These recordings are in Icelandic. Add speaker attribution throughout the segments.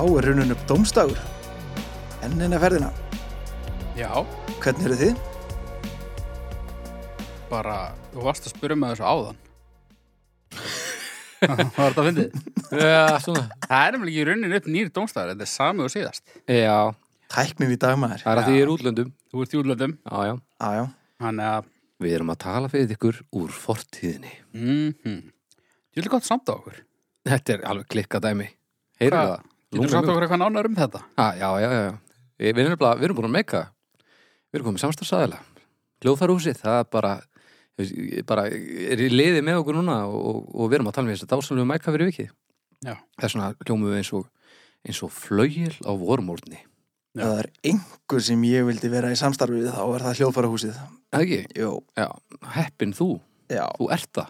Speaker 1: er runnun upp dómstagur enn eina ferðina
Speaker 2: Já,
Speaker 1: hvernig eru þið?
Speaker 2: bara, þú varst að spyrja með þessu áðan. Var þetta að fyndið?
Speaker 3: Já, svona.
Speaker 2: Það er nefnilega ekki runnin upp nýr dómstæðar, þetta er sami og síðast.
Speaker 3: Já,
Speaker 1: Tæknin í dag maður
Speaker 3: það er að því ég er útlöndum.
Speaker 2: Þú ert í útlöndum,
Speaker 3: Já, já.
Speaker 1: aðjá,
Speaker 2: þannig að,
Speaker 3: Við erum að tala fyrir ykkur úr fortíðinni.
Speaker 2: mhm, mm ég vil gott samt á okkur.
Speaker 3: Þetta er alveg klikka dæmi. Heyrðu
Speaker 2: Hvað?
Speaker 3: það?
Speaker 2: Getur samt á okkur eitthvað nánar um þetta?
Speaker 3: Ah, já, já, já. já. Við, við, erum nefnilega- við erum búin að meika. Við erum komið samstagsæðila. Gljóðfærhúsið, það er bara, ég bara er í liði með okkur núna og, og við erum að tala um þessi dásanlegu mæka fyrir vikið.
Speaker 2: Já.
Speaker 3: Þess vegna hljómum við eins og, eins og flögil á vormórni.
Speaker 2: Já.
Speaker 1: það er einhver sem ég vildi vera í samstarfi við þá er það hljóðfara húsið
Speaker 3: Það ekki?
Speaker 1: Jó,
Speaker 3: Já, heppin þú.
Speaker 1: já,
Speaker 3: Þú ert það.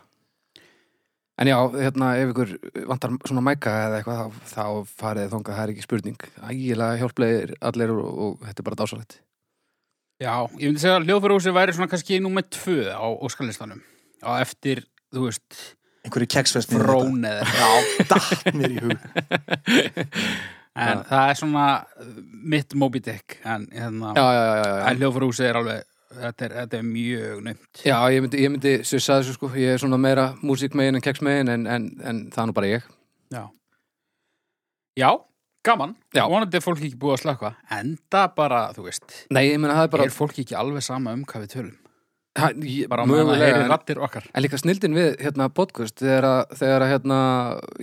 Speaker 3: En já, hérna, ef ykkur vantar svona mæka eða eitthvað, þá, þá farið þið þangað, það er ekki spurning. Ægilega hjálplegir allir og, og þetta er bara dásalegt.
Speaker 2: Já, ég myndi segja að hljóðfyrhúsi væri svona kannski númer tvö á óskalistanum. Á eftir, þú veist,
Speaker 1: einhverju keksfest
Speaker 2: frón eða eitthvað.
Speaker 1: hérna. datt mér í hug
Speaker 2: En það er svona uh, mitt Moby Dick, en hérna...
Speaker 3: Já, já, já, já, já.
Speaker 2: En hljóðfórhúsið er alveg, þetta er, þetta er mjög nömt.
Speaker 3: Já, ég myndi, ég myndi, sem ég sagði þessu sko, ég er svona meira músíkmegin en keksmegin en, en, en það er nú bara ég.
Speaker 2: Já. Já, gaman.
Speaker 3: Já.
Speaker 2: Vonandi er fólk ekki búið að slökka. Enda bara, þú veist,
Speaker 3: Nei, ég meina það er bara,
Speaker 2: er fólk ekki alveg sama um hvað við tölum.
Speaker 3: ha, ég,
Speaker 2: Bara á meðan að heyri
Speaker 3: mögulega, en,
Speaker 2: rattir okkar.
Speaker 3: en líka snildin við hérna podcast, þegar að, þegar að hérna,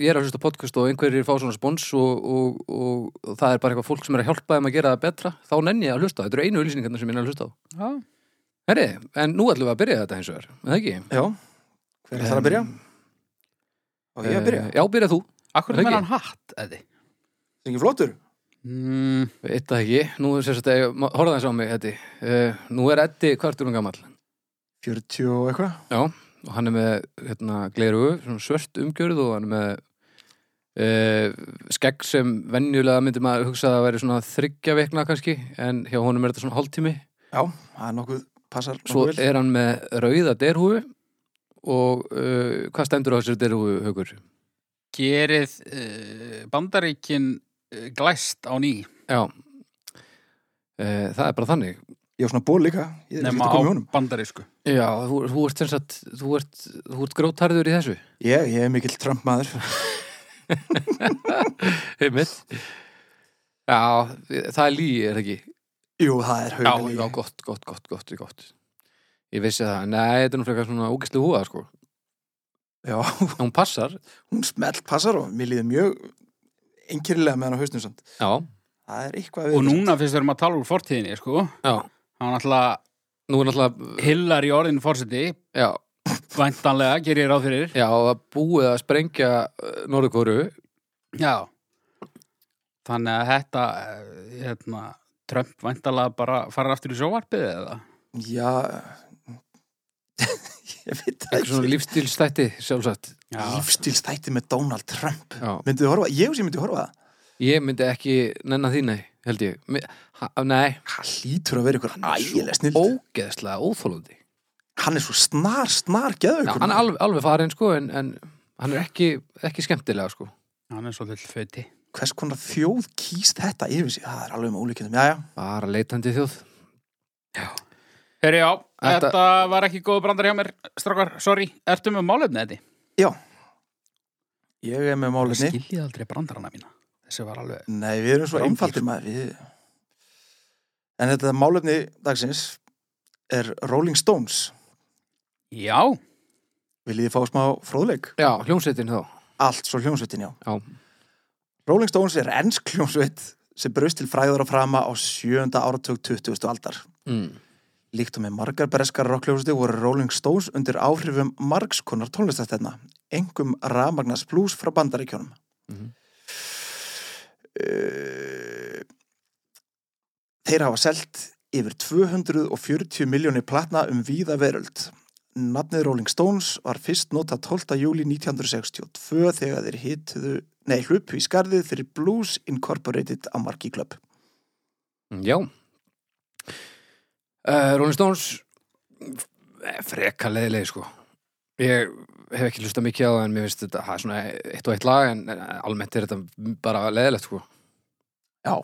Speaker 3: ég er að hlusta á podcast og einhverjir fá svona spons og, og, og, og það er bara eitthvað fólk sem er að hjálpa þeim að gera það betra, þá nenni ég að hlusta, á. þetta eru einu auðlýsingarna sem ég er að hlusta á.
Speaker 2: Já.
Speaker 3: Herri, en nú ætlum við að byrja þetta hins vegar, er það ekki?
Speaker 1: Já, hver er það að byrja? Og ég að byrja,
Speaker 3: Eh, Já, byrja þú.
Speaker 2: Akkur
Speaker 3: Það
Speaker 2: er
Speaker 3: ekki?
Speaker 2: hann hatt, eði.
Speaker 1: það er ekki flottur
Speaker 2: Mm,
Speaker 3: Eitt að ekki, nú er eh, sérst að, horfða eins á mig, Eddi. Uh, nú er Eddi kvartur um gamall.
Speaker 1: 40 og eitthvað
Speaker 3: Já, og hann er með hérna, gleru, svona svört umgjörð og hann er með uh, skegg sem venjulega myndi maður hugsa að veri svona þryggja veikna kannski en hjá honum er þetta svona hálftími
Speaker 1: Já, það er nokkuð, passar
Speaker 3: svo
Speaker 1: nokkuð vel
Speaker 3: er hann með rauða derhúfu og uh, hvað stendur á þessari derhúfu haukur?
Speaker 2: gerið uh, bandaríkin uh, glæst á ný.
Speaker 3: Já, uh, það er bara þannig
Speaker 1: Ég á svona ból líka, ég er ekki
Speaker 2: Nefna
Speaker 1: að
Speaker 2: á
Speaker 1: koma í honum
Speaker 2: bandarísku.
Speaker 3: Já, þú, þú ert sem sagt, þú ert, þú ert grótarður í þessu
Speaker 1: Ég, ég er mikill Trump maður
Speaker 3: Heimitt Já, það er líi, er það ekki?
Speaker 1: Jú, það er
Speaker 3: Já,
Speaker 1: haugalegi.
Speaker 3: já, gott, gott, gott, gott, gott. Ég vissi það. Nei, þetta er nú frekar svona ógæslu húða, sko.
Speaker 1: Já,
Speaker 3: En hún passar.
Speaker 1: hún smelt passar og mér líður mjög einkerlega með hann á hausnum samt.
Speaker 3: Já,
Speaker 1: Það er eitthvað
Speaker 2: Og núna fyrst við erum að tala úr fortíðinni, sko.
Speaker 3: já.
Speaker 2: Það var náttúrulega
Speaker 3: Nú er náttúrulega,
Speaker 2: hillar í orðinu fórseti,
Speaker 3: já,
Speaker 2: væntanlega, gerir ég ráð fyrir.
Speaker 3: já, það er búið að sprengja eh, Norðurkóru.
Speaker 2: Já. Þannig að þetta, eh, hérna, Trump væntalega bara farir aftur í sjóvarpið eða?
Speaker 1: Já, ég veit það
Speaker 3: Eitthvað svona
Speaker 1: ekki.
Speaker 3: lífstílstætti, sjálfsagt.
Speaker 1: Lífstílstætti með Donald Trump.
Speaker 3: Já.
Speaker 1: Myndið þið horfa? Ég sé myndið horfa það.
Speaker 3: Ég myndi ekki nennan því, nei, held ég. Mi- Ha, nei,
Speaker 1: Hann lítur að vera ykkur ægilega snill.
Speaker 3: ógeðslega óþólandi.
Speaker 1: Hann er svo snar, snar geðu
Speaker 3: Já,
Speaker 1: ykkur.
Speaker 3: hann er alveg, alveg farin, sko, en, en hann er ekki, ekki skemmtilega, sko.
Speaker 2: Hann er svolítið föti.
Speaker 1: Hvers konar þjóð kýst þetta yfir sig? Það er alveg með ólíkjöndum. Já, já.
Speaker 3: Bara leitandi þjóð.
Speaker 2: Herri, já, þetta...
Speaker 3: Þetta-
Speaker 2: var ekki góð brandar hjá mér, strákar, sorry, ertu með málefni þetta?
Speaker 1: Ég er með
Speaker 2: Ég
Speaker 1: málefni.
Speaker 2: skiljiði aldrei brandarana mína. Þessi var alveg...
Speaker 1: Nei, við erum svo
Speaker 2: Rándýr.
Speaker 1: einfaldir maður. Við... En þetta málefni dagsins er Rolling Stones.
Speaker 2: Já,
Speaker 1: Viljið þið fá smá fróðleik?
Speaker 3: Já, hljómsveitin þá.
Speaker 1: Allt svo hljómsveitin, já.
Speaker 3: Já.
Speaker 1: Rolling Stones er ennsk hljómsveit sem braust til fræður að frama á sjönda áratug 20. aldar.
Speaker 3: Mm.
Speaker 1: Líkt og með margar breskar rockljómsveiti voru Rolling Stones undir áhrifum margskonar tónlistastefna, engum rafmagnas blues frá bandaríkjónum.
Speaker 3: Mhm.
Speaker 1: Eh, Þeir hafa selt yfir 240 miljónir platna um víða veröld. Nafnið Rolling Stones var fyrst nota 12. júli 1962 þegar þeir hituðu, nei, hlupu í skarðið fyrir Blues Incorporated á Marki Club.
Speaker 3: Mm, Já uh, Rolling Stones freka leiðilegi sko ég hef ekki hlusta mikið á það en mér finnst þetta það er svona eitt og eitt lag en en almennt er þetta bara leiðilegt sko
Speaker 1: Já,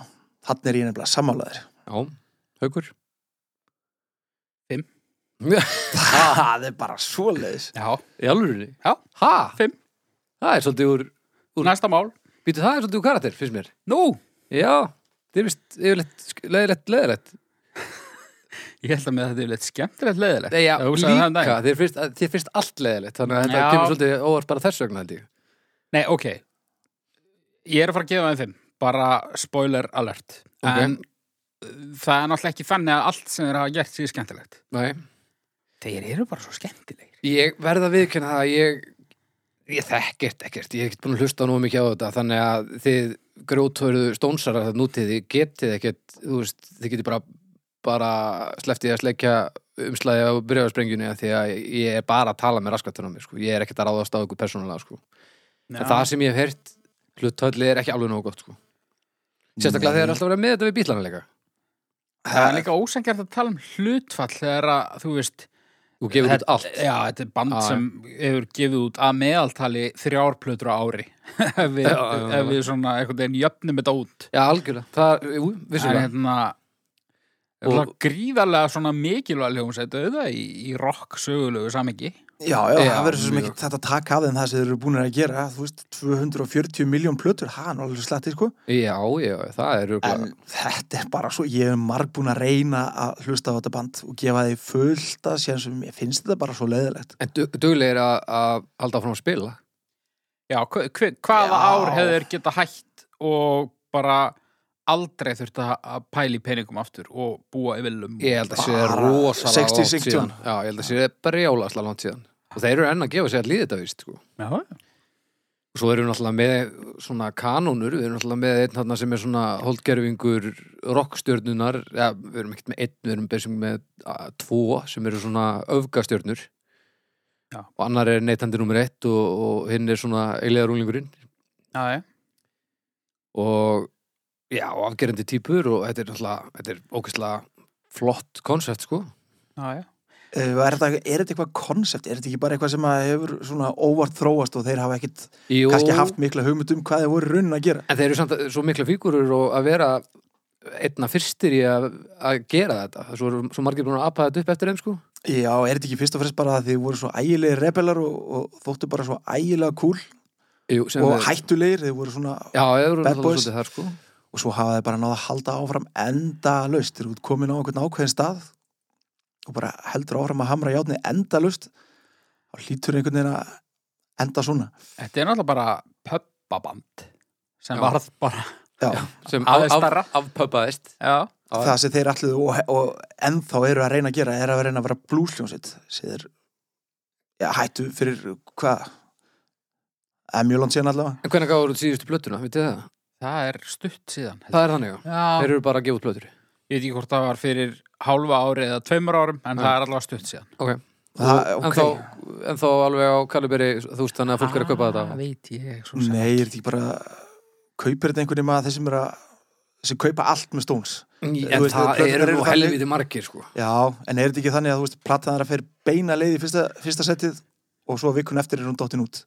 Speaker 1: þannig er ég nefnilega sammálaður.
Speaker 3: Já, haukur
Speaker 2: Fimm.
Speaker 1: Það er bara svoleiðis.
Speaker 2: Já,
Speaker 3: Í alvörinni?
Speaker 2: Já.
Speaker 3: Ha?
Speaker 2: Fimm.
Speaker 3: Það er svolítið úr, Úr-
Speaker 2: næsta mál
Speaker 3: býtu það er svolítið úr karakter, finnst mér
Speaker 2: Nú,
Speaker 3: Já, þið er vist yfirleitt sk- leiðilegt, leiðilegt
Speaker 2: ég held að með þetta er leitt skemmtilegt leiðilegt
Speaker 3: Nei, Eh, já,
Speaker 2: Ég hugsaði það um
Speaker 3: líka,
Speaker 2: daginn.
Speaker 3: þið finnst, að- þér finnst allt leiðilegt Þannig að þetta
Speaker 2: Já.
Speaker 3: kemur svolítið óvart bara þess vegna held ég
Speaker 2: Nei, ok Ég er að fara að gefa þeim fimm Bara spoiler alert
Speaker 3: Ok.
Speaker 2: En uh, það er náttúrulega ekki þannig að allt sem þeir hafa gert sé skemmtilegt
Speaker 3: Nei,
Speaker 2: Þeir eru bara svo skemmtilegir
Speaker 3: ég verð að viðkynna það að ég, ég þekkert ekkert, ég hef ekkert búin að hlusta nú mikið á þetta þannig að þið grjóthörðu stónsarar það nútið, þið getið ekkert þú veist, þið getið bara bara sleftið að sleikja umslæði á byrjaðarsprengjunni af því að ég er bara að tala með raskatunum mér, sko. ég er ekkert að ráðast á ykkur persónulega, sko. en það sem ég hef heyrt hlutthölli er ekki alveg nógu gott, sko. sérstaklega þegar þeir eru alltaf verið með þetta við bílana leika
Speaker 2: Það er líka ósengjart að tala um hlutfall þegar að, þú veist
Speaker 3: og gefur út
Speaker 2: þetta-
Speaker 3: allt
Speaker 2: Já, þetta er band
Speaker 3: Já, já.
Speaker 2: sem hefur gefið út að meðaltali þrjár plötur á ári ef við,
Speaker 3: Já, já, já.
Speaker 2: ef við svona einhvern veginn jöfnum þetta út
Speaker 3: já, algjörlega, það, jú,
Speaker 2: en
Speaker 3: vissulega
Speaker 2: hérna
Speaker 3: Og-
Speaker 2: og... gríðarlega svona mikilvæg hljómsveit auðvitað í, í rock sögulegu samingi
Speaker 1: Já, já,
Speaker 3: Já,
Speaker 1: það verður svo sem
Speaker 3: mjög.
Speaker 1: ekki þetta að taka af þeim það sem þeir eru búin að gera, þú veist, 240 miljón plötur, það er nú alveg slettið, sko.
Speaker 3: já, já, það er örugglega-
Speaker 1: En þetta er bara svo, ég hef marg búin að reyna að hlusta á þetta band og gefa því fullt að sér sem ég finnst þetta bara svo leiðilegt.
Speaker 3: En du- duglegir að að halda áfram að spila
Speaker 2: Já, hva, hva, hvaða
Speaker 1: Já.
Speaker 2: ár hefur þeir geta hætt og bara aldrei þurft að- að pæla í peningum aftur og búa í villum
Speaker 3: Ég held að sé
Speaker 1: Bara
Speaker 3: rosalega
Speaker 1: 60,
Speaker 3: langt
Speaker 1: 60.
Speaker 3: síðan Já, ég held að sé brjálaslega langt síðan Og þeir eru enn að gefa sér að líði þetta víst sko.
Speaker 2: Já, já.
Speaker 3: Og svo erum við náttúrulega með svona kanónur Við erum náttúrulega með einn þarna sem er svona holdgerfingur rockstjörnunar Já, við erum ekkert með einn, við erum besum með a, tvo sem eru svona öfgastjörnur
Speaker 2: Já.
Speaker 3: Og annar er neytandi nummer ett og, og hinn er svona eiligarúlingurinn
Speaker 2: Já, já.
Speaker 3: og já, og afgerandi típur og þetta er náttúrulega, þetta er ókvæslega flott konsept sko
Speaker 2: Já, já.
Speaker 1: Eh, Er þetta, er þetta eitthvað konsept, er þetta ekki bara eitthvað sem að hefur svona óvart þróast og þeir hafa ekkit
Speaker 3: Jó,
Speaker 1: kannski haft mikla hugmynd um hvað þeir voru raunin að gera?
Speaker 3: en þeir eru samt svo mikla fígurur og að vera einna fyrstir í að, að gera þetta svo, eru- svo margir búin að apa þetta upp eftir þeim sko
Speaker 1: Já, er þetta ekki fyrst og fremst bara að þeir voru svo ægilegir rebelar og, og þóttu bara svo ægilega kúl
Speaker 3: Jú, sem
Speaker 1: og
Speaker 3: við-
Speaker 1: hættulegir, þeir voru svona
Speaker 3: Já, þeir eru
Speaker 1: Bad
Speaker 3: náttúrulega
Speaker 1: Boys.
Speaker 3: svolítið þar sko
Speaker 1: og svo hafa þeir bara náða að halda áfram enda laust, þeir eru komin á einhvern ákveðin stað og bara heldur áfram að hamra játni enda laust og hlýtur einhvern veginn að enda svona
Speaker 2: Þetta er náttúrulega bara pöppaband sem
Speaker 3: Já.
Speaker 2: varð bara
Speaker 1: Já,
Speaker 3: sem
Speaker 2: Aðeins
Speaker 3: af- af-
Speaker 2: stærra.
Speaker 3: afpöppaðist
Speaker 2: Já,
Speaker 1: það sem þeir allir og, og ennþá eru að reyna að gera er að reyna að vera blúsljónsitt sem þeir já, hættu fyrir hvað emjúland síðan allavega
Speaker 3: En hvernig gáður þú síðustu plötuna, vitið þið það?
Speaker 2: það er stutt síðan held ég.
Speaker 3: Það er þannig, já.
Speaker 2: Já,
Speaker 1: Ah.
Speaker 3: Þeir eru bara að gefa út plötur
Speaker 2: ég veit ekki hvort það var fyrir hálfa ári eða tveimur árum en
Speaker 3: Já.
Speaker 2: það er allavega stutt síðan
Speaker 1: það,
Speaker 3: Og- en,
Speaker 1: ok,
Speaker 3: þá, en þá alveg á kaliberi, þú veist þannig að fólk er að kaupa
Speaker 2: Ah,
Speaker 3: þetta
Speaker 2: veit ég, svo sem.
Speaker 1: nei, er þetta ekki bara kaupir þetta einhvern veginn að þeir sem eru að sem kaupa allt með stóns
Speaker 3: En
Speaker 1: Þú veist,
Speaker 3: það
Speaker 1: plöturnar
Speaker 3: eru
Speaker 1: eru
Speaker 3: nú
Speaker 1: þannig-
Speaker 3: helviti margir sko
Speaker 1: Já, en er þetta ekki þannig að þú veist platan er að fer beina leið í fyrsta, fyrsta setið og svo vikun eftir er hún dottin út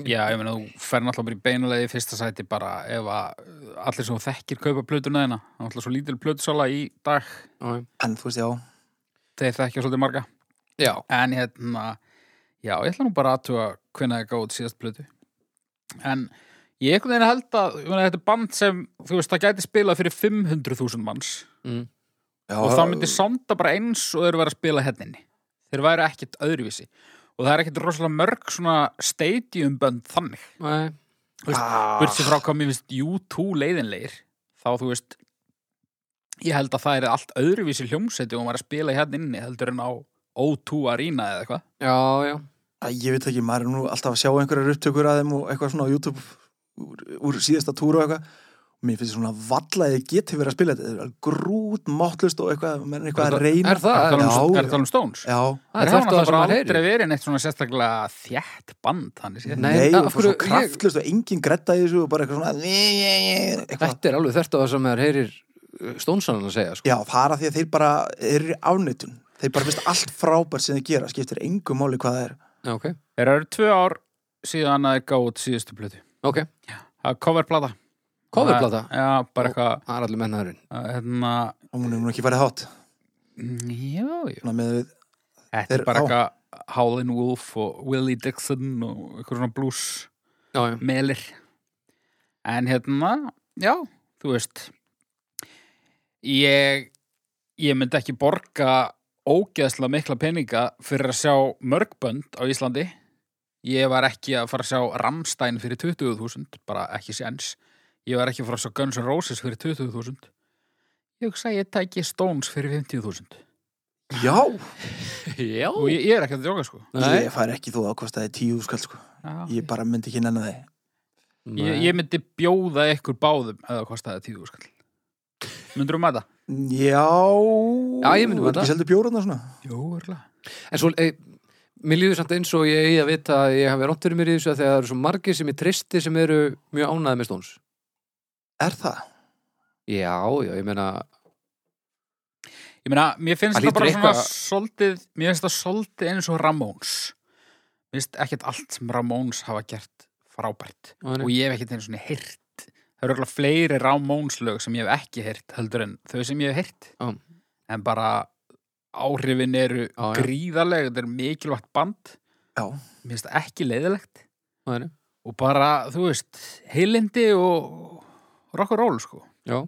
Speaker 2: Já, ég meina, þú fer náttúrulega bara í beinulegi í fyrsta sæti bara ef að uh, allir sem þú þekkir kaupa plötuna þeina. Það er náttúrulega svo lítil plötusala í dag,
Speaker 3: Já,
Speaker 1: en þú veist, já,
Speaker 2: þeir þekkja svolítið marga.
Speaker 3: já.
Speaker 2: En hérna, já, ég ætla nú bara aðtuga hvenær það gáði síðast plötu. En ég einhvern veginn held að, ég meina, þetta er band sem, þú veist, það gæti spilað fyrir 500.000 manns
Speaker 3: Mm.
Speaker 1: já
Speaker 2: og það myndi sonda bara eins og þeir væri að spila henninni. Þeir væri ekkit öðruvísi. Og það er ekkit rosalega mörg svona stadiumbönd þannig.
Speaker 3: Nei,
Speaker 1: ah,
Speaker 2: Burtsi frá hvað mér finnst U2 leiðinleir þá þú veist ég held að það er allt öðruvísi hljómsæti og maður er að spila hérna inni heldur en á O2 Arena eða eitthvað
Speaker 3: já, já
Speaker 1: Æ, Ég veit ekki, maður er nú alltaf að sjá einhverjar upptökur að þeim og eitthvað svona á YouTube úr, úr síðasta túru og eitthvað og mér finnst svona valla að ég geti verið að spila þetta þetta er grút máttlust og eitthvað menn eitthvað að reyna
Speaker 3: Er það?
Speaker 2: er
Speaker 1: Já,
Speaker 2: það
Speaker 1: já.
Speaker 2: um, um Stones?
Speaker 1: Já,
Speaker 3: Það
Speaker 2: Þeir
Speaker 3: er
Speaker 2: hafa
Speaker 3: þvert á
Speaker 2: náttúrulega
Speaker 3: það sem
Speaker 2: bara
Speaker 3: maður
Speaker 2: aldrei
Speaker 3: heyrir.
Speaker 2: verið neitt svona sérstaklega þjætt band þannig séð
Speaker 3: Nei,
Speaker 1: nei,
Speaker 3: af
Speaker 1: og
Speaker 3: hverju-
Speaker 1: svo
Speaker 3: ég-
Speaker 1: kraftlust og engin gretta í þessu og bara eitthvað svona eitthvað.
Speaker 3: Þetta er alveg þvert á það sem maður heyrir Stónsanan að segja, sko.
Speaker 1: Já, það er að því að þeir bara eru í ánitun þeir bara finnst allt frábært sem þeir gera skiptir engum máli hvað það er
Speaker 3: Já, ok.
Speaker 2: Þeir eru tvö ár síðan að þeir gáðu út síðustu plötu
Speaker 3: Ok.
Speaker 2: Það er coverplata
Speaker 3: Coverplata,
Speaker 2: Já, bara eitthvað,
Speaker 3: það er allir mennaðurinn
Speaker 2: uh, hérna,
Speaker 1: og hún er nú ekki farið hátt
Speaker 2: mm, já, já.
Speaker 1: Ná, með,
Speaker 2: Þetta
Speaker 1: Þeir-
Speaker 2: er bara
Speaker 1: á.
Speaker 2: eitthvað Howlin' Wolf og Willie Dixon og eitthvað svona blues
Speaker 3: Já, já,
Speaker 2: melir en hérna, já, þú veist ég ég myndi ekki borga ógeðslega mikla peninga fyrir að sjá mörgbönd á Íslandi ég var ekki að fara að sjá Ramstein fyrir 20.000, bara ekki séns ég var ekki að fara að sjá Guns N' Roses fyrir 20.000 ég hugsa að ég tæki Stones fyrir 50.000
Speaker 1: já,
Speaker 3: já.
Speaker 2: og ég, ég er ekki að djóka sko
Speaker 1: ég
Speaker 3: Nei.
Speaker 1: fari ekki þó að kosta þið tíu skall sko.
Speaker 2: Já,
Speaker 1: ég bara myndi ekki nennan þið
Speaker 2: ég, ég myndi bjóða ykkur báðum eða kostaði tíu skall myndur um að það?
Speaker 1: já,
Speaker 3: Já, ég myndi
Speaker 1: Er
Speaker 3: mæta.
Speaker 1: ekki seldu bjóraðna svona
Speaker 2: Jó, örgulega
Speaker 3: En svo, e, mér líður samt eins og ég eigi að vita að ég hafi rátt fyrir mér í þessu að þegar það eru svo margir sem ég tristi sem eru mjög ánæði með stóns.
Speaker 1: er það?
Speaker 3: Já, já, ég meina,
Speaker 2: Ég meina, mér finnst
Speaker 3: Það
Speaker 2: það bara
Speaker 3: hlýtur
Speaker 2: svona
Speaker 3: eitthvað-
Speaker 2: svolítið, mér finnst það svolítið eins og Ramóns Mér finnst ekkert allt sem Ramóns hafa gert frábært
Speaker 3: Nei.
Speaker 2: og ég hef ekkert einu svona heyrt Það eru örgulega fleiri Ramóns lög sem ég hef ekki heyrt heldur en þau sem ég hef heyrt
Speaker 3: Já.
Speaker 2: en bara áhrifin eru
Speaker 3: Já, já.
Speaker 2: gríðarlega, þetta er mikilvægt band
Speaker 1: já,
Speaker 2: Mér finnst það ekki leiðilegt
Speaker 3: það er,
Speaker 2: og bara, þú veist, heilindi og rock and roll, sko.
Speaker 3: já.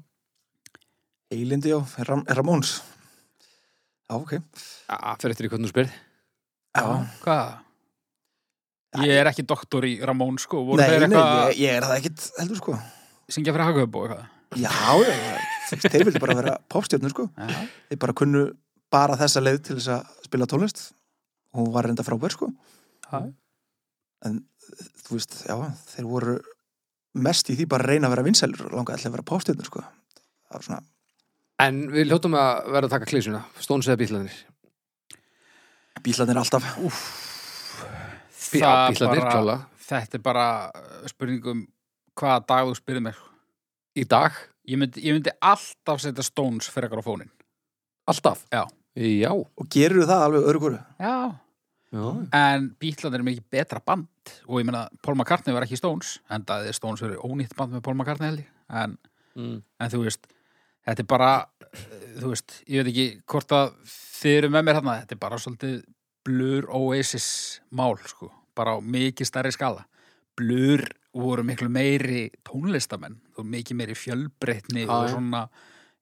Speaker 1: Eilindi já, Ram Ramóns já, ok
Speaker 3: Já, fyrir eftir í hvernig þú spyrð.
Speaker 1: já.
Speaker 2: Hvað? Ég er ekki doktor í Ramón, sko. Voru
Speaker 1: Nei,
Speaker 2: þeir
Speaker 1: nei,
Speaker 2: eitthvað
Speaker 1: ég, ég er það ekkit heldur sko
Speaker 2: að syngja fyrir hagöp og eitthvað?
Speaker 1: já, já, já, þeir vildi bara vera popstjörnur sko
Speaker 2: Já.
Speaker 1: þeir bara kunnu bara þessa leið til þess að spila tónlist hún var reynda frábær sko
Speaker 2: Já.
Speaker 1: en þú veist, já, þeir voru mest í því bara að reyna að vera vinsælur og langa allir að vera pástjörnur sko það var svona,
Speaker 3: En við hljóttum að vera að taka klísuna, stóns eða bílarnir.
Speaker 1: bílarnir alltaf
Speaker 2: Úff.
Speaker 3: Bí- já, bílarnir, klála.
Speaker 2: þetta er bara uh, spurning um hvaða dag þú spyrir mér.
Speaker 3: Í dag,
Speaker 2: Ég myndi, ég myndi alltaf setja Stones fyrir eitthvað á fónin.
Speaker 3: alltaf.
Speaker 2: Já.
Speaker 3: Já.
Speaker 1: og gerur það alveg öðru hverju
Speaker 2: Já.
Speaker 3: Já.
Speaker 2: En Bítlandir er mikið betra band og ég meina, Paul McCartney var ekki Stones en það er Stones verið ónýtt band með Paul McCartney held ég. En
Speaker 3: Mm.
Speaker 2: en þú veist, þetta er bara eh, þú veist, ég veit ekki hvort að þið eru með mér hérna, þetta er bara svolítið blur oasis mál, sko, bara á mikið stærri skala blur voru miklu meiri tónlistamenn, þú voru mikið meiri fjölbreytni
Speaker 3: Já,
Speaker 2: og
Speaker 3: já.
Speaker 2: svona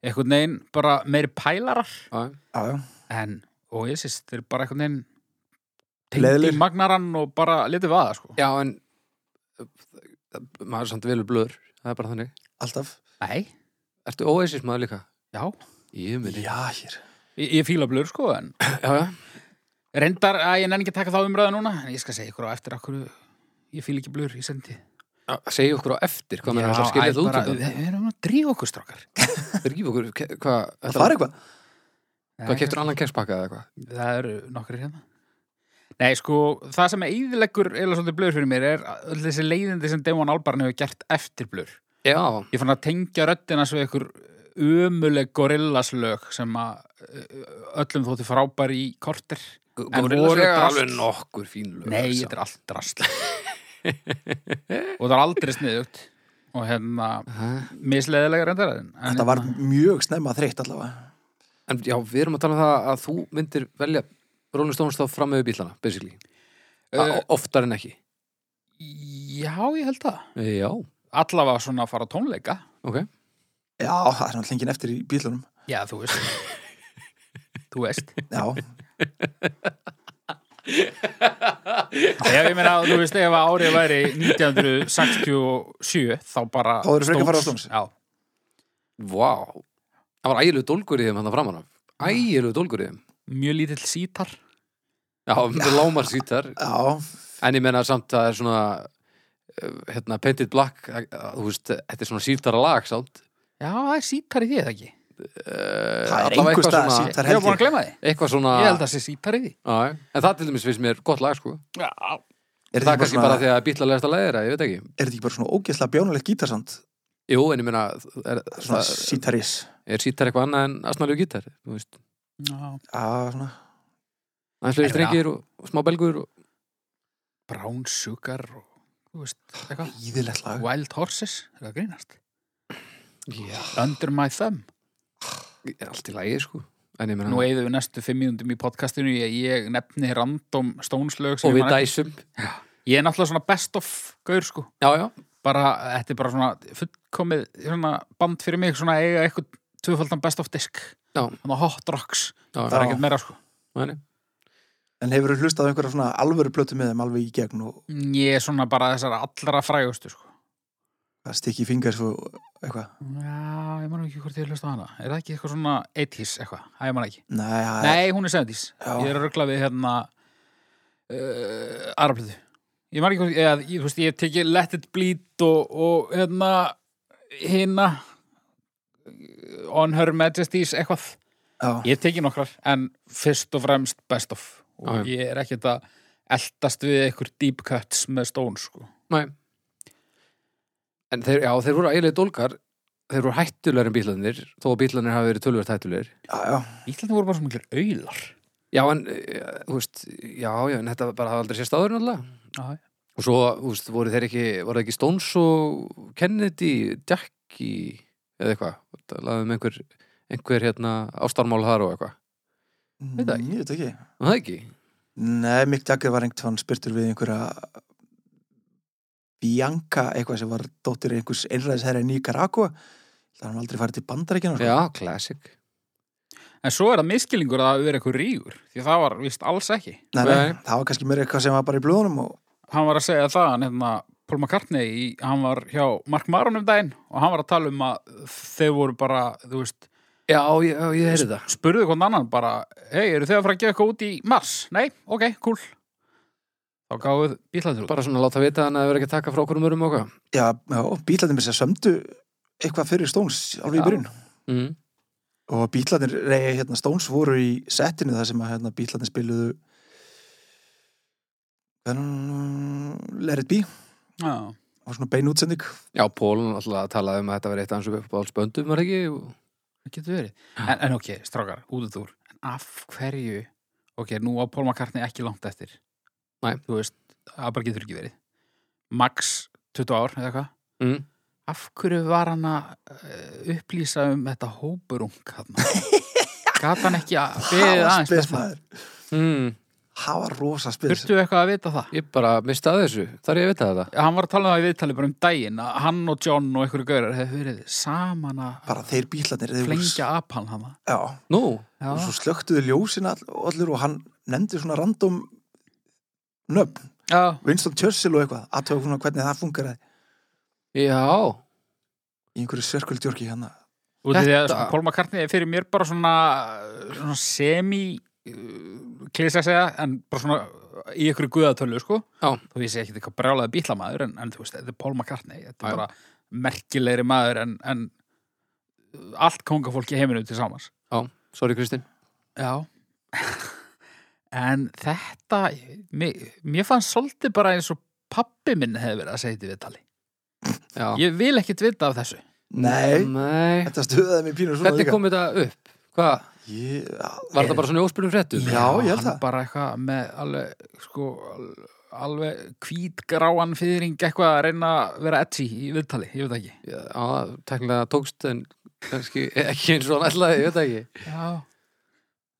Speaker 2: einhvern veginn, bara meiri pælarar
Speaker 3: Já.
Speaker 1: já, já,
Speaker 2: en oasis, þeir eru bara einhvern veginn
Speaker 1: Leiðilegir.
Speaker 2: tengdi magnarann og bara litið vaða, sko
Speaker 3: Já, en uh, maður er samt velur blöður, það er bara þannig.
Speaker 1: alltaf
Speaker 2: Nei,
Speaker 3: Ertu óeisis maður líka?
Speaker 2: já,
Speaker 3: Ég meni.
Speaker 1: já, hér,
Speaker 2: ég, ég fíla blur, sko en
Speaker 3: Já, já.
Speaker 2: Reyndar að ég nenni ekki að taka þá umræða núna en ég skal segja ykkur á eftir okkur ég fíl ekki blur í sendi
Speaker 3: Segja okkur á eftir, hvað maður er að skilja það út um
Speaker 2: Við við erum að drífa okkur strákar
Speaker 3: það. Ríf okkur, ke- hvað,
Speaker 1: það
Speaker 3: þetta-
Speaker 1: var eitthvað
Speaker 3: hvað keftur annan kekspakka eða eitthvað?
Speaker 2: Það eru nokkri hérna Nei, sko, það sem er íðilegur eða svolítið blur fyrir mér er öll þessi leiðindi sem Demon Albarn hefur gert eftir blur
Speaker 3: Já,
Speaker 2: Ég fann að tengja röddina svo ykkur ömuleg gorillaslög sem að ö, öllum þótti frábær í korter En
Speaker 3: Gorillaz
Speaker 2: voru
Speaker 3: eiga
Speaker 2: drast-
Speaker 3: alveg nokkur fín lög
Speaker 2: Nei,
Speaker 3: samt.
Speaker 2: þetta er allt rast Og það er aldrei sniðugt Og hérna,
Speaker 3: Hæ?
Speaker 2: misleðilega reyndar en, en hérna,
Speaker 1: þetta var mjög snemma þreytt allavega
Speaker 3: En já, við erum að tala um það að þú myndir velja Rolling Stones þá fram með bílana, basically uh,
Speaker 2: uh,
Speaker 3: Oftar en ekki
Speaker 2: já, ég held það
Speaker 3: Já,
Speaker 2: allavega svona að fara á tónleika
Speaker 3: ok
Speaker 1: já, það er náttúrulega enginn eftir í bílunum
Speaker 2: já, þú veist þú veist
Speaker 1: já,
Speaker 2: ef ég meina, þú veist, ef að árið væri 1967 þá bara
Speaker 1: Þá eru frekar að fara á Stones.
Speaker 2: já,
Speaker 3: Vá, Ah. það var ægilegu dólgur í þeim hann að framan af Ægilegu dólgur í þeim
Speaker 2: mjög lítill sítar
Speaker 3: Já, með lámar sítar
Speaker 1: já,
Speaker 3: En ég menna samt að það er svona eh, hérna, Painted Black að- að, þú veist, þetta er svona síltara lag samt Eh,
Speaker 2: já, það er sítar í því, er það ekki
Speaker 1: það er
Speaker 3: allavega
Speaker 1: einhver
Speaker 3: eitthvað
Speaker 1: stað
Speaker 3: svona-
Speaker 1: sítar
Speaker 2: ég Ah. var
Speaker 1: held
Speaker 2: búin að
Speaker 1: ég
Speaker 2: glemma því
Speaker 3: Eitthvað svona
Speaker 2: ég held að það sé sítar í því
Speaker 3: já, En það til dæmis finnst mér gott lag sko
Speaker 1: er
Speaker 2: já,
Speaker 3: Það
Speaker 1: þetta
Speaker 3: er
Speaker 1: ekki
Speaker 3: kannski bara
Speaker 1: bara svona-
Speaker 3: því að bílalegasta lagir að ég veit ekki
Speaker 1: er þetta ekki bara svona ógeðslega bjánulegt gítarsand
Speaker 3: Jú, en ég meina er,
Speaker 1: svona
Speaker 3: það-
Speaker 1: sítaris
Speaker 3: er sítar eitthvað annað en asnalegu gítar þú veist
Speaker 2: já.
Speaker 1: já, svona,
Speaker 3: aðeins
Speaker 2: Ég
Speaker 3: fleiri
Speaker 2: meina-
Speaker 3: strengir og, og smá belgur og,
Speaker 2: brown sugar og, þú veist, eitthvað
Speaker 1: íðilegt lag
Speaker 2: wild horses, er það að grínast
Speaker 3: Já,
Speaker 2: Under my thumb
Speaker 3: allt í lagi, sko. En ég meina,
Speaker 2: Nú eigðum við næstu fimm mínúndum í podcastinu ég, ég nefni random stónslög
Speaker 3: og við dæsum.
Speaker 2: Ég er náttúrulega svona best of gaur sko
Speaker 3: Já, já,
Speaker 2: bara, þetta er bara svona fullkomið svona band fyrir mig svona eiga eitthvað tvöfaldan best of disk
Speaker 3: já.
Speaker 2: þannig að hot rocks,
Speaker 3: já,
Speaker 2: það er
Speaker 3: já.
Speaker 2: ekkert meira sko
Speaker 3: Nei, nei.
Speaker 1: En hefur þú hlustað á einhverja svona alvöru plötu með þeim alveg í gegn og
Speaker 2: ég er svona bara þessar allra frægustu sko
Speaker 1: það stikki í fingar svo eitthvað?
Speaker 2: Já, ég man ekki hvort ég hlusta á hana Er það ekki eitthvað svona 80s eitthvað? Það ég man ekki
Speaker 1: Nei, það er-
Speaker 2: Nei, hún er 70s
Speaker 1: Já.
Speaker 2: Ég er að röggla við hérna uh, Arablöðu Ég man ekki hvort, eða, ég, þú veist, ég teki Let It Bleed og, og hérna hérna On Her Majesty's eitthvað
Speaker 1: já,
Speaker 2: Ég teki nokkrar, en fyrst og fremst best of
Speaker 3: Já,
Speaker 2: og
Speaker 3: já.
Speaker 2: ég er ekkert að eldast við einhver deep cuts með stón sko.
Speaker 3: nei. En þeir, já, þeir voru eiginlega dólgar, þeir voru hættulegar en bílarnir, þó að bílarnir hafi verið tölvöld hættulegar.
Speaker 1: já, já,
Speaker 2: Ítlandi voru bara svo miklir auðlar
Speaker 3: Já, en, eh, þú veist, já, já, en þetta bara hafa aldrei sést áður náttúrulega.
Speaker 2: Já,
Speaker 3: Og svo, þú veist, voru þeir ekki, voru það ekki Stones og Kennedy, Jackie, eða eitthvað, laðum einhver, einhver hérna ástarmál þar og eitthvað. Veit það
Speaker 1: Mm, ég veit ekki.
Speaker 3: Var Það ekki?
Speaker 1: Nei, Mick Jagger var einhvern spyrtur við einhverja Bianca, eitthvað sem var dóttir einhvers einræðisherra í Nicaragua það hann aldrei farið til sko. bandarækina
Speaker 3: Já, classic.
Speaker 2: En svo er það miskilingur að það hafi verið eitthvað rígur því það var vist alls ekki
Speaker 1: Nei, nei,
Speaker 3: Nei.
Speaker 1: það var kannski meira eitthvað sem var bara í blóðunum og
Speaker 2: Hann var að segja það, hann hérna Paul McCartney, í- hann var hjá Mark Maron um daginn og hann var að tala um að þau voru bara, þú veist
Speaker 3: Já, ég, já, ég heyrði það.
Speaker 2: spurðu hvern annan bara hei, eru þau að fara að gefa eitthvað út í Mars? Nei, ok, cool Þá gáðu bílæður út
Speaker 3: Bara svona láta vita hann að það verið ekki að taka frá okkur um örum og eitthvað.
Speaker 1: já, já bílarnir mér sem sömdu eitthvað fyrir Stones alveg
Speaker 2: Já.
Speaker 1: í byrjun
Speaker 3: Mm.
Speaker 1: og bílarnir, reyja hérna Stones voru í settinu þar sem að hérna, bílarnir spiluðu hvernig Let it be
Speaker 2: Já,
Speaker 1: og svona bein útsending
Speaker 3: Já, Pólun alltaf talaði um að þetta verið eitt aðeins upp á alls böndum, var ekki? Og-
Speaker 2: það getur verið en, en ok, strákar, út af þúr En af hverju, ok, nú á Paul McCartney ekki langt eftir
Speaker 3: Nei.
Speaker 2: Þú veist, það bara getur ekki verið Max 20 ár, eða hvað
Speaker 3: Mm.
Speaker 2: af hverju var hann að eh, upplýsa um þetta hópurung hann? Gat hann ekki að beðið
Speaker 1: var
Speaker 2: aðeins með
Speaker 1: spes,
Speaker 2: það?
Speaker 1: maður.
Speaker 3: Mm.
Speaker 1: það var rosa spil
Speaker 2: Þurftu eitthvað að vita það?
Speaker 3: Ég bara mistaði þessu, þar ég að vita þetta.
Speaker 2: Hann var að tala um það í viðtali bara um daginn að hann og John og einhverju gaurar hefur verið saman að
Speaker 1: bara þeir bílarnir þeir voru-
Speaker 2: flengja apan hann
Speaker 1: já,
Speaker 3: Nú,
Speaker 1: og svo slöktuðu ljósin all, allir og hann nefndi svona random nöfn,
Speaker 2: Já,
Speaker 1: Winston Churchill og eitthvað aðtöðu svona hvernig það fungerði
Speaker 3: já,
Speaker 1: í einhverju sörkuldjörki hérna
Speaker 2: út af því að
Speaker 3: Þetta-
Speaker 2: sko, Paul McCartney er fyrir mér bara svona, svona semi uh, klísa að segja en bara svona í ykkur guðatölu sko.
Speaker 3: Já.
Speaker 2: þó ég sé ekki eitthvað brjálaði bílamaður en, en þú veist, þetta er Paul McCartney þetta
Speaker 3: Já.
Speaker 2: er bara merkilegri maður en, en allt kongafólk í heiminu til samans
Speaker 3: já, sorry Kristinn.
Speaker 2: Já En þetta mér, mér fannst svolítið bara eins og pappi minn hefði verið að segja þetta í viðtali
Speaker 3: Já.
Speaker 2: Ég vil ekkit vita af þessu
Speaker 1: nei,
Speaker 3: Nei.
Speaker 1: þetta stöðaði mér pínu svona
Speaker 3: Hvernig kom þetta upp? Hvað?
Speaker 1: Ég, já,
Speaker 3: Var þetta bara svona óspilum fréttum?
Speaker 1: Já, ég held
Speaker 2: hann
Speaker 1: það.
Speaker 2: bara eitthvað með alveg, sko, al- alveg hvítgráan fyrring eitthvað að reyna að vera edgy í viðtali, ég veit það ekki.
Speaker 3: Já, það teknilega tókst en kannski ekki eins og hann ætlaði, ég veit það ekki.
Speaker 2: Já.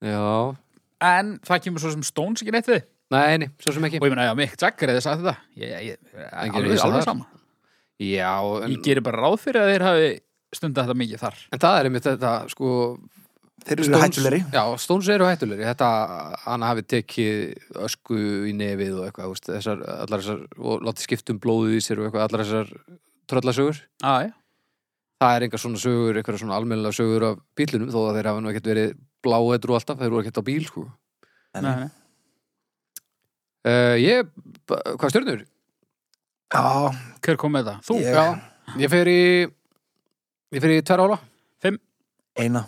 Speaker 3: Já,
Speaker 2: En það kemur svo sem Stones ekki neitt við.
Speaker 3: nei, nei, svo sem ekki.
Speaker 2: Og ég meina, já, Mick Jagger hefði sagt þetta. Ég, ég,
Speaker 3: Ekki
Speaker 2: alveg,
Speaker 3: risa
Speaker 2: alveg
Speaker 3: þar.
Speaker 2: sama.
Speaker 3: Já, en,
Speaker 2: Ég gerir bara ráð fyrir að þeir hafi stundið þetta mikið þar.
Speaker 3: en það er einmitt þetta, sko...
Speaker 1: þeir eru hættulegri
Speaker 3: Já, stóns eru hættulegri. Þetta, hann hafi tekið ösku í nefið og eitthvað, þú veist, þessar, allar þessar, og látið skiptum blóðu í sér og eitthvað, allar þessar tröllasögur.
Speaker 2: Já, já.
Speaker 3: Það er einhver svona sögur, einhver svona almennilega sögur af bílunum, þó að þeir hafa nú ekkert verið bláeitru alltaf, þeir voru ekkert á bíl, sko.
Speaker 1: En-
Speaker 2: Nei, nei.
Speaker 3: Uh, ég, ba- hvað stjörnur?
Speaker 1: já,
Speaker 2: Hver kom með það? Þú?
Speaker 1: Ég-
Speaker 3: Já, ég fer í ég fer í tverra ála
Speaker 1: eina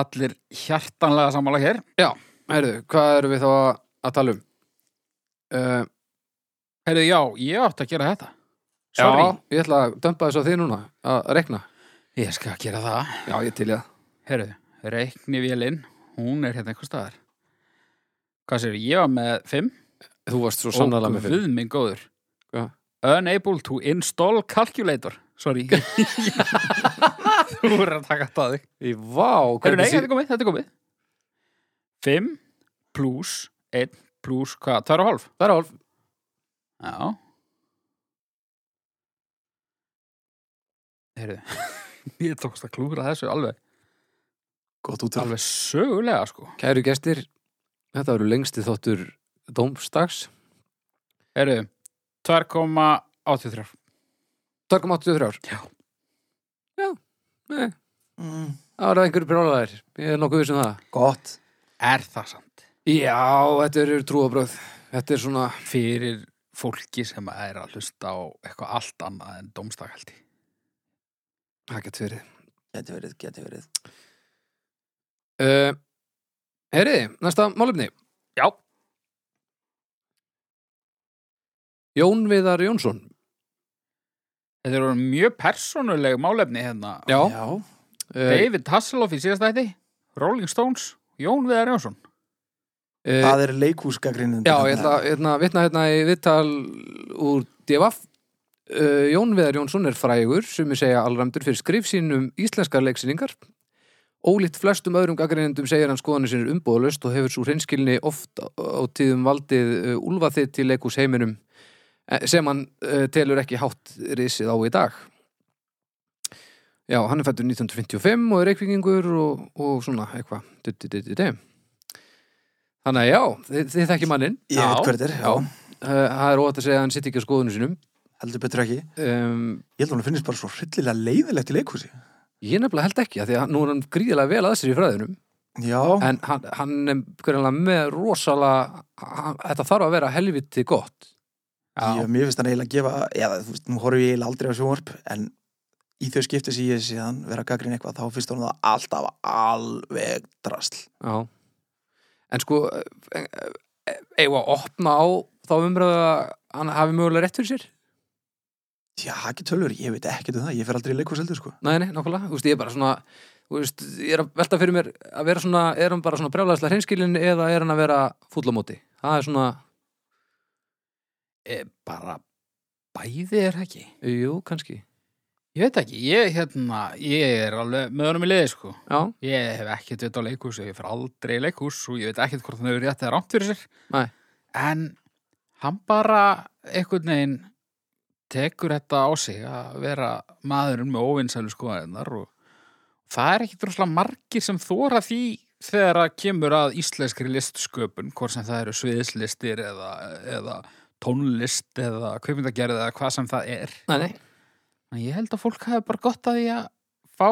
Speaker 2: allir hjartanlega sammála hér
Speaker 3: Herðu, hvað erum við þá að að tala um? Uh,
Speaker 2: Heyrðu, já, ég átti að gera þetta
Speaker 3: já,
Speaker 2: Sorry,
Speaker 3: ég ætla að dömpa þess að þið núna að rekna
Speaker 2: ég skal gera það
Speaker 3: Já, ég til ég
Speaker 2: Heyrðu, reikni vélinn hún er hérna einhver staðar Hvað sér, ég var með 5
Speaker 3: Þú varst svo sannarlega með fyrir
Speaker 2: Guð minn góður
Speaker 3: Hvað?
Speaker 2: Unable to install calculator sorry Þú verður að taka þetta að þig
Speaker 3: Í vá,
Speaker 2: Heru, nei,
Speaker 3: hvernig
Speaker 2: þetta er komið, þetta er komið 5 plus 1 plus hvað, 2 og hálf
Speaker 3: Það er hálf
Speaker 2: Já Heyrðu Ég tókst að klúra þessu alveg
Speaker 1: Gott út
Speaker 2: Alveg sögulega sko
Speaker 3: Kæru gestir, þetta eru lengsti þáttur Dómstags
Speaker 2: Heyrðu 2,83
Speaker 3: 2,83
Speaker 2: Já.
Speaker 3: Já, nei
Speaker 1: mm,
Speaker 3: Það eru einhverju brjólaðir, ég er nokkuð vissum það
Speaker 1: Gott
Speaker 2: Er það samt?
Speaker 3: Já, þetta eru trúabröð Þetta er svona,
Speaker 2: Fyrir fólki sem er að hlusta á eitthvað allt annað en domstakaldi
Speaker 3: það getur verið
Speaker 1: Geti verið, geti verið
Speaker 3: uh, Heyriði, næsta málefni
Speaker 2: Já
Speaker 3: Jón Viðar Jónsson
Speaker 2: Þetta eru mjög persónuleg málefni hérna
Speaker 3: Já,
Speaker 1: Já,
Speaker 3: uh,
Speaker 2: David Hasselhoff í síðasta hætti Rolling Stones, Jón Viðar Jónsson
Speaker 3: uh,
Speaker 1: það er leikúsgagrinin
Speaker 3: já ég ætla hérna, vitna hérna í vittal úr Devaf Uh, Jón Viðar Jónsson er frægur sem ég segja allramdur fyrir skrif sínum íslenskar leiksýningar Ólíkt flestum öðrum gaggreinendum segir hann skoðanir sinni umbúðalust og hefur svo hreinskilni oft á- á tíðum valdið uh, úlfa þitt til leikús heiminum sem hann uh, telur ekki hátt risið á í dag Já, hann er fættur 1955 og er reikvingingur og, og svona eitthvað Du- du- du- du- du. Þannig að já, þið, þið þekki mannin
Speaker 1: Ég veit
Speaker 2: Já,
Speaker 1: hver þetta er, já,
Speaker 3: Uh, Það er óvægt að segja að hann sitt ekki á skoðunum sínum
Speaker 1: heldur betur ekki
Speaker 3: um,
Speaker 1: Ég held að hún finnist bara svo hryllilega leiðilegt í leikúsi
Speaker 3: Ég nefnilega held ekki, af því að nú er hann gríðilega vel að sér í fræðunum
Speaker 1: Já,
Speaker 3: En hann, hann er greinlega með rosalega hann, Þetta þarf að vera helviti gott
Speaker 1: ég, mér finnst hann eiginlega að gefa eða, þú veist, nú horfum ég eiginlega aldrei á sjónvarp en í þau skipti sem ég sé hann vera að gaggrinn eitthvað, þá finnst hann það alltaf alveg drasl
Speaker 3: Já En sko Eða að opna á þá umröðu að hann hafi mögulega rétt fyrir sér
Speaker 1: Já, ekki tölur, ég veit ekkert um það, ég fer aldrei í leikús heldur sko
Speaker 3: Nei, nei, nákvæmlega, þú veist, ég er bara svona Þú veist, ég er að velta fyrir mér að vera svona, er hann bara svona brjálæðislega hreinskilin eða er hann að vera fúll á móti Það er svona,
Speaker 2: e, bara bæði er það ekki
Speaker 3: jú, kannski
Speaker 2: ég veit ekki, ég, hérna, ég er alveg með honum í liði sko
Speaker 3: Já,
Speaker 2: ég hef ekkert veit á leikhús, ég fer aldrei í leikhús og ég veit ekkert hvort hann hefur rétt eða rámt fyrir sér
Speaker 3: Nei.
Speaker 2: en hann bara einhvern veginn tekur þetta á sig að vera maðurinn með óvinsælu skoðarinnar og það er ekkert droslega margir sem þóra því þegar að kemur að íslenskri listsköpun hvort sem það eru sviðislistir eða, eða tónlist eða kveikmyndagerð eða hvað sem það er
Speaker 3: nei, nei
Speaker 2: En ég held að fólk hafi bara gott að því að fá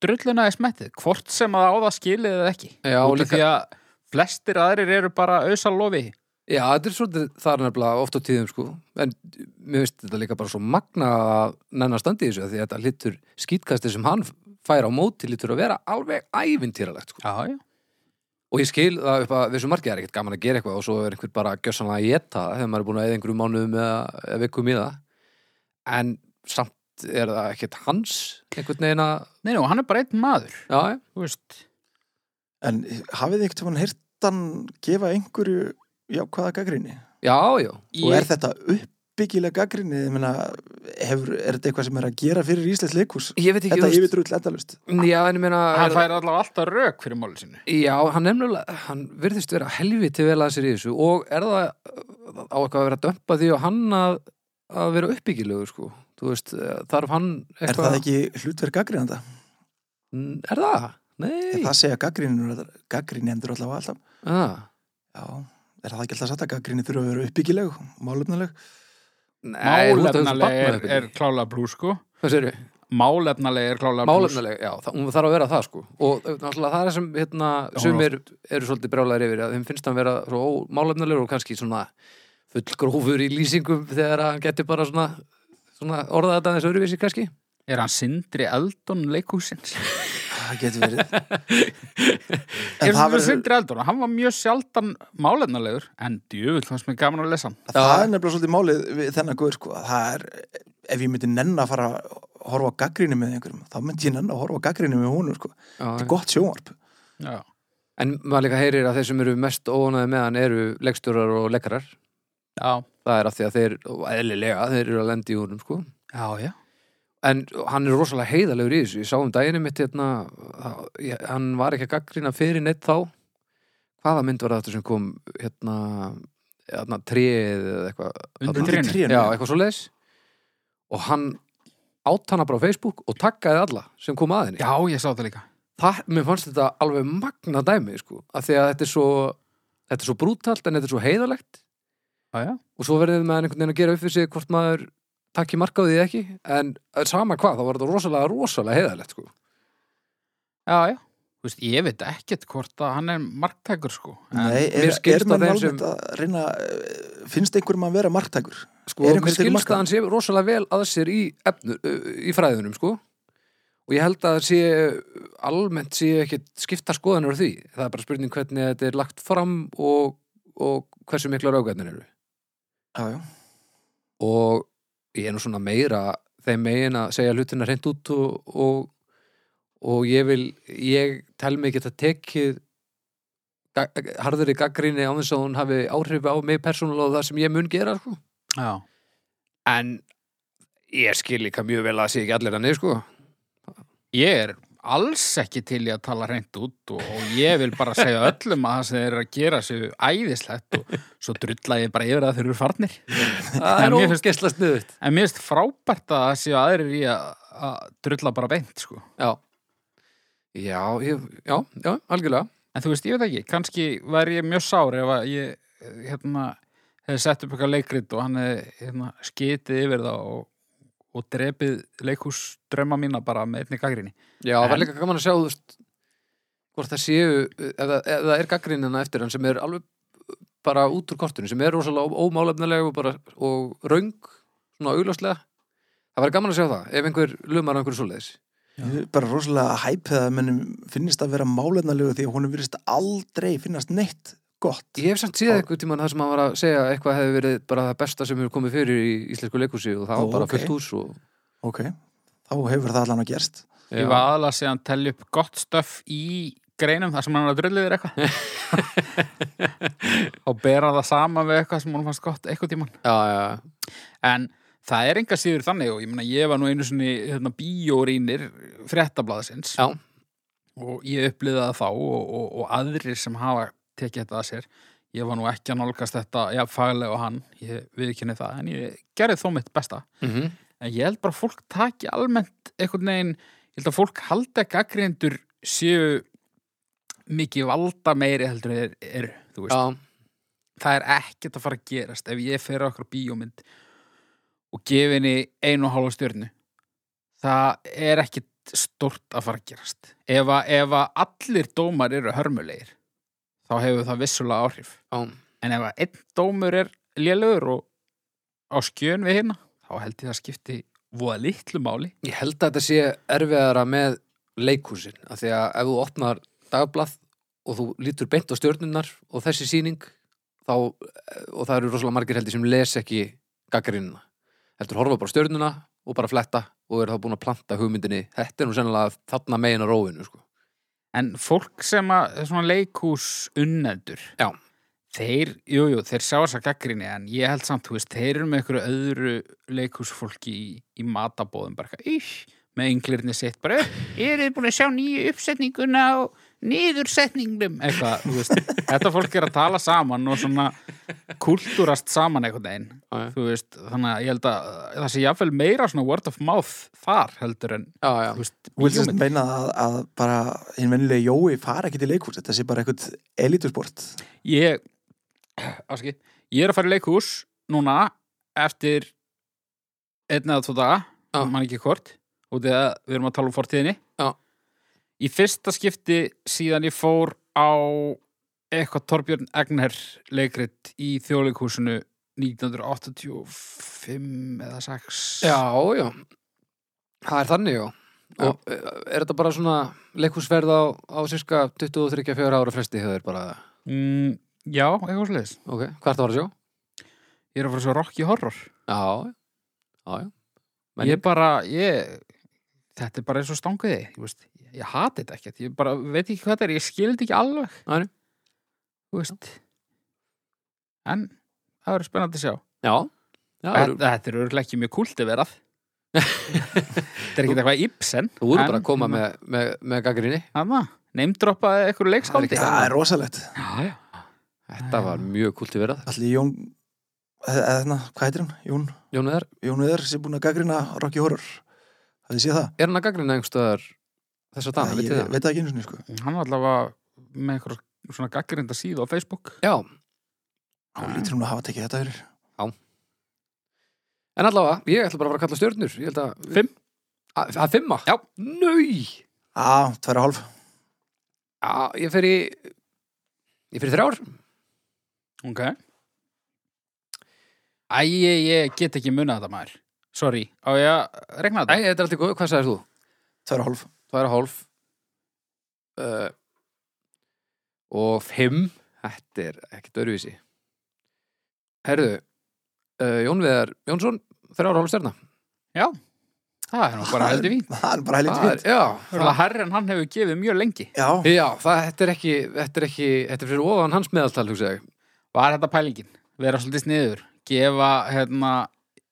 Speaker 2: drulluna í smettið, hvort sem að á það skilið eða ekki.
Speaker 3: Já,
Speaker 2: Út af
Speaker 3: líka-
Speaker 2: því að flestir aðrir eru bara auðsal lofi.
Speaker 3: Já, þetta er svolítið þar nefnilega oft á tíðum sko en mér finnst þetta líka bara svo magna að nenna standi í þessu af því að þetta lítur skýtkasti sem hann fær á móti lítur að vera alveg ævintýralegt sko.
Speaker 2: Já, já.
Speaker 3: og ég skil það upp að vissu margið er ekkert gaman að gera eitthvað og svo er einhver bara gjössanlega að geta þegar maður er búin að eða einhverjum mánuðum eða, eða vikum í það en samt er það ekkert hans einhvern veginn að
Speaker 2: Nei, nú, hann er bara einn maður,
Speaker 3: já, já.
Speaker 2: þú veist.
Speaker 1: En hafið þið eitthvað hirtan gefa einhverju jákvæða gaggrinni?
Speaker 3: já, já,
Speaker 1: Og er
Speaker 2: Ég,
Speaker 1: þetta uppbyggilega gaggrinni? Ég meina, hefur, er þetta eitthvað sem er að gera fyrir Íslands leikús?
Speaker 3: ég veit ekki
Speaker 1: Þetta
Speaker 3: þú veist-
Speaker 1: yfirdrull endalust
Speaker 3: já, en ég meina er-
Speaker 2: hann fær allavega alltaf rauk fyrir máli sinu.
Speaker 3: Já, hann nefnilega, hann virðist vera helviti vel að sér í þessu og er það á eitthvað að vera að dömpa því og hann að, að vera uppbyggilegu sko, þú veist, eh, þarf hann
Speaker 1: Er
Speaker 3: eitthvað...
Speaker 1: það ekki hlutverk gaggrinanda?
Speaker 3: N- Er það? Nei.
Speaker 1: Það segja gaggrinendur allavega alltaf
Speaker 3: Ah,
Speaker 1: Já, er það ekki alltaf satt að gaggrinni þurfa að vera uppbyggileg, málefnileg?
Speaker 3: nei, þú ert að hugsa um
Speaker 2: Málefnaleg er,
Speaker 3: barnaverkefni.
Speaker 2: er klála brú, sko.
Speaker 3: Hvað segirðu?
Speaker 2: Málefnaleg er klála brú.
Speaker 3: Málefnaleg, já, það, hún þarf að vera það sko og eh, náttúrulega það er sem hérna,
Speaker 2: Já, sko. hún
Speaker 3: sumir eru svolítið brjálæðir yfir að þeim finnst hann vera svo málefnalegur og kannski svona fullgrófur í lýsingum þegar hann getur bara svona, svona orðað þetta þessu öruvísi kannski
Speaker 2: Er hann sindri eldon leikúsins?
Speaker 1: Það getur verið
Speaker 2: Er
Speaker 1: En það
Speaker 2: það verið
Speaker 1: verður-
Speaker 2: sindri eldon? Hann var mjög sjaldan málefnalegur, en djöfull fannst mér gaman að lesa hann.
Speaker 1: Það er nefnilega svolítið málið við þennan guður sko. að Það er, ef ég myndi nenn að fara að horfa á gaggrinni með einhverjum þá myndi ég nenn að horfa á gaggrinni með húnum sko.
Speaker 3: Já,
Speaker 1: Þetta
Speaker 3: já.
Speaker 1: er gott sjónvarp
Speaker 2: Já.
Speaker 3: En maður líka heyrir að þeir sem eru mest óanæði með hann eru leikstjórar og leikarar.
Speaker 2: Já.
Speaker 3: Það er af því að þeir, og eðlilega, þeir eru að lendi í húnum, sko.
Speaker 2: Já, já.
Speaker 3: en hann er rosalega heiðalegur í þessu ég sá um daginu mitt hérna, það- ég- hann var ekki að gaggrina fyrir neitt þá hvaða mynd var þetta sem kom hérna, hérna treið eða eitthvað
Speaker 2: Undir
Speaker 3: þarna?
Speaker 2: trénu.
Speaker 3: já, eitthvað svo leis og hann átt hana bara á Facebook og takkaði alla sem kom að henni
Speaker 2: Já, ég sá það líka.
Speaker 3: það, mér fannst þetta alveg magna dæmi sko, af því að þetta er svo þetta er svo brútalt en þetta er svo heiðalegt
Speaker 2: Já, já.
Speaker 3: og svo verðið maður einhvern veginn að gera upp fyrir sig hvort maður takki mark á því eða ekki en eh, sama hvað, þá var þetta rosalega rosalega heiðalegt sko.
Speaker 2: Já, já. Þú veist, ég veit ekkert hvort að hann er marktækur, sko. En
Speaker 1: Nei, er,
Speaker 3: mér
Speaker 1: er
Speaker 3: skilst á
Speaker 1: mann
Speaker 3: þeim
Speaker 1: alveg
Speaker 3: sem-
Speaker 1: að reyna, eh, finnst einhverjum að vera marktækur?
Speaker 3: sko,
Speaker 1: Er einhver
Speaker 3: mér
Speaker 1: til
Speaker 3: skilst
Speaker 1: marka?
Speaker 3: að hann sé rosalega vel að sér í, efnu, í fræðunum sko. og ég held að það sé almennt sé ekki skipta skoðanur á því það er bara spurning hvernig þetta er lagt fram og, og hversu mikla rágætnir eru
Speaker 1: Já, já.
Speaker 3: og ég er nú svona meira þeim megin að segja hlutina reynd út og, og, og ég vil ég tel mig geta tekið ga- harðari gaggrinni á þess að hún hafi áhrif á mig persónulega og það sem ég mun gera sko.
Speaker 2: já.
Speaker 3: en ég skil líka mjög vel að það sé ekki allir hann sko.
Speaker 2: Ég er alls ekki til í að tala reynd út og, og ég vil bara segja öllum að það sem þeir eru að gera séu æðislegt og svo drulla ég bara yfir að þeir eru farnir. En
Speaker 3: það er
Speaker 2: mér finnst-
Speaker 3: ógeðslega sniðut
Speaker 2: En mér finnst frábært að það séu aðrir í að, að drulla bara beint, sko.
Speaker 3: já, já, ég, já, já algjörlega
Speaker 2: En þú veist, ég veit ekki, kannski væri ég mjög sár ef að ég, eh, hérna, hefði sett upp eitthvað leikrit og hann hefði, hérna, skitið yfir það og, og drepið leikhús drömma mína bara með einni gaggrinni.
Speaker 3: já, það
Speaker 2: En-
Speaker 3: er líka gaman að sjá þú veist, hvort það séu ef það, ef það er gaggrinina eftir hann sem er alveg bara út úr kortinu sem er rosalega ó- ómálefnileg og, bara, og röng svona augljóslega það væri gaman að sjá það ef einhver lumar á einhverju svoleiðis
Speaker 1: Ég er Bara rosalega hæpið að mennum finnist að vera málefnalegu því að honum virðist aldrei finnast neitt gott.
Speaker 3: ég hef samt séð einhver tímann það sem hann var að segja að eitthvað hefði verið bara það besta sem hefur komið fyrir í íslensku leikhúsi og það
Speaker 1: Ó,
Speaker 3: var bara
Speaker 1: ok.
Speaker 3: fullt hús og
Speaker 1: Ok, þá hefur það allan að gerst.
Speaker 2: Ég var aðalega að segja hann telja upp gott stöf í greinum þar sem hann er að drullið þér eitthvað. og bera það saman við eitthvað sem hann fannst gott eitthvað tíman.
Speaker 3: já, já,
Speaker 2: En það er enga síður þannig og ég meina ég var nú einu sinni hérna, bíórínir fréttablaðsins
Speaker 3: Já.
Speaker 2: og ég upplýði það þá og, og, og aðrir sem hafa tekið þetta að sér ég var nú ekki að nálgast þetta já, faglega og hann, ég viðkynni það en ég gerði þó mitt besta
Speaker 3: mm
Speaker 1: Mhm.
Speaker 3: -hmm.
Speaker 2: en ég held bara að fólk taki almennt einhvern veginn, ég held að fólk halda gaggrindur séu mikið valda meiri heldur en þeir eru, þú veist
Speaker 3: já,
Speaker 2: það er ekkert að fara að gerast ef ég fer á okkur bíómynd og gefi henni einu og hálfa stjörnu það er ekkert stort að fara að gerast ef að, ef að allir dómar eru hörmulegir þá hefur það vissulega áhrif
Speaker 3: já,
Speaker 2: en ef að einn dómur er lélugur og á skjön við hérna þá held ég það skipti voða litlu máli
Speaker 3: ég held að þetta sé erfiðara með leikhúsin af því að ef þú opnar dagblað og þú lítur beint á stjörnunnar og þessi sýning þá, og það eru rosalega margir heldur sem les ekki gaggrinna heldur horfa bara á stjörnuna og bara fletta og er þá búin að planta hugmyndinni þetta er nú sennilega þarna megin að róinu sko.
Speaker 2: En fólk sem að, svona leikús unnendur,
Speaker 3: Já.
Speaker 2: þeir, jú, jú, þeir sjá þess að gaggrinni, en ég held samt, þú veist, þeir eru með einhverju öðru leikúsfólki í, í matabóðum, bara eitthvað, ís, með ynglirni sitt, bara, ég er búin að sjá nýju uppsetninguna og niðursetningnum, eitthvað, þú veist, þetta fólk er að tala saman og svona kultúrast saman einhvern veginn,
Speaker 3: Já, já.
Speaker 2: þú veist, þannig að ég held að það sé jafnvel meira svona word of mouth þar heldur en,
Speaker 3: já, já,
Speaker 2: þú veist,
Speaker 1: Vil sérst
Speaker 2: bíómynd.
Speaker 1: meina að, að bara hinn venilegi Jói fara ekki til leikhús, þetta sé bara eitthvað elitusport.
Speaker 2: ég áski, ég er að fara í leikhús núna eftir einn eða tvo daga
Speaker 3: Já.
Speaker 2: ah. mann ekki hvort og þegar við erum að tala um fortíðinni
Speaker 3: Já.
Speaker 2: í fyrsta skipti síðan ég fór á eitthvað Torbjörn Egner leikrit í þjóðleikhúsinu 1985 eða 6
Speaker 3: já, já. það er þannig já.
Speaker 2: Já.
Speaker 3: og eh, er þetta bara svona leikhúsverð á, á cirka 23-4 ára fresti hefur bara,
Speaker 2: mm, já eitthvað sliðis
Speaker 3: ok, hvert var að sjá?
Speaker 2: ég er að fara svo Rocky Horror
Speaker 3: Já, já, já. Menning.
Speaker 2: Ég bara, ég, þetta er bara eins og stanguði, ég veist, ég hati þetta ekkert, ég bara veit ekki hvað þetta er, ég skildi ekki alveg,
Speaker 3: Nei, nei.
Speaker 2: þú veist. En það verður spennandi að sjá.
Speaker 3: Já, já,
Speaker 2: Þetta, þetta er örgulega ekki mjög kúlt að verað. Þetta er ekki eitthvað Ibsen
Speaker 3: Þú voru
Speaker 2: en-
Speaker 3: bara að koma með, með, með gaggrinni.
Speaker 2: Hanna, neymdroppaði eitthvað leikskáldi
Speaker 1: Það er rosalegt.
Speaker 2: Já, já
Speaker 3: Þetta var mjög kulti verað.
Speaker 1: Allir Jón, eða eða, hvað heitir hann? Jón,
Speaker 3: Jón Veðar,
Speaker 1: Jón Viðar sem er búin að gaggrina Rocky Horror. Það sé það.
Speaker 3: er hann að gaggrina einhverstaðar þessa dana,
Speaker 1: ég
Speaker 3: veit það?
Speaker 1: veit það ekki einu sinni, sko.
Speaker 2: Hann var allavega með eitthvað svona gaggrinda síðu á Facebook
Speaker 3: Já,
Speaker 1: Hún lítur hún að hafa tekið þetta fyrir.
Speaker 3: en allavega, ég ætla bara að fara að kalla stjörnur. Ég held að...
Speaker 2: Fimm.
Speaker 3: Að, að fimma?
Speaker 2: Já.
Speaker 3: Nau!
Speaker 1: Á, tværa hálf.
Speaker 3: Já, ég fer í... Ég fer í þrjár.
Speaker 2: Ok Æ, ég, ég get ekki munað þetta maður Sorry, á ég að regna
Speaker 3: Æ,
Speaker 2: þetta?
Speaker 3: þetta er alltaf góð. Hvað sagðir þú?
Speaker 1: Tværa hálf.
Speaker 3: Tvær og hálf. Uh, og fimm. Þetta er ekkert öruvísi. Herðu, uh, Jón Veðar Jónsson, þrjár og hálf stjörna.
Speaker 2: Það er nú bara heldur vín
Speaker 1: Það er bara heldur
Speaker 3: Það
Speaker 1: fínt.
Speaker 3: er, já,
Speaker 2: Það er herri en hann hefur gefið mjög lengi
Speaker 1: Já,
Speaker 3: Já, það, þetta er ekki, þetta er ekki, þetta er fyrir ofan hans meðaltal, hugsa ég.
Speaker 2: Var þetta pælingin? Vera svolítið sniður Gefa, hérna,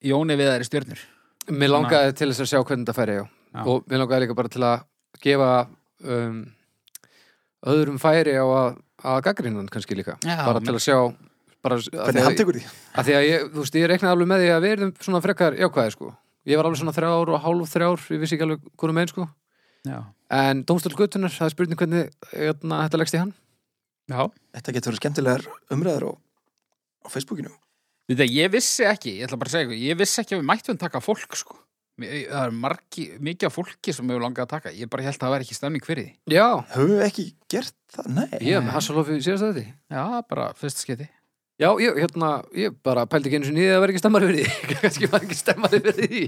Speaker 2: Jóni Viðari stjörnur
Speaker 3: Mér langaði til þess að sjá hvernig þetta færi, já.
Speaker 2: Já.
Speaker 3: Og mér langaði líka bara til að gefa um, öðrum færi á að, að gaggrinan kannski líka.
Speaker 2: Já,
Speaker 3: bara til að sjá, bara að því
Speaker 1: hvernig hann
Speaker 3: að,
Speaker 1: tekur því?
Speaker 3: að því að ég, þú veist, ég reiknaði alveg með því að við erum svona frekar jákvæði, sko. Ég var alveg svona þrjár og hálf þrjár, ég vissi ekki alveg hvernig megin, sko.
Speaker 2: Já,
Speaker 3: En Dómstól Götunar, það er spurning hvernig hérna, þetta leggst í hann.
Speaker 2: já
Speaker 1: Þetta getur verið skemmtilegar umræður á, á Facebookinu.
Speaker 2: Við þetta, ég vissi ekki, ég ætla bara að segja ykkur, ég vissi ekki að við mættum taka fólk, sko. Mér- Það er margi, mikið af fólki sem hefur langað að taka. Ég bara held að það væri ekki stemning fyrir því.
Speaker 3: Já,
Speaker 1: Höfum við ekki gert það? Nei.
Speaker 3: ég hef með Hassalofi síðast að þetta.
Speaker 2: Já, bara fyrsta skeiti.
Speaker 3: Já, ég, hérna, ég bara pældi ekki einu sinni í því að vera ekki stemmari fyrir því kannski var ekki stemmari fyrir því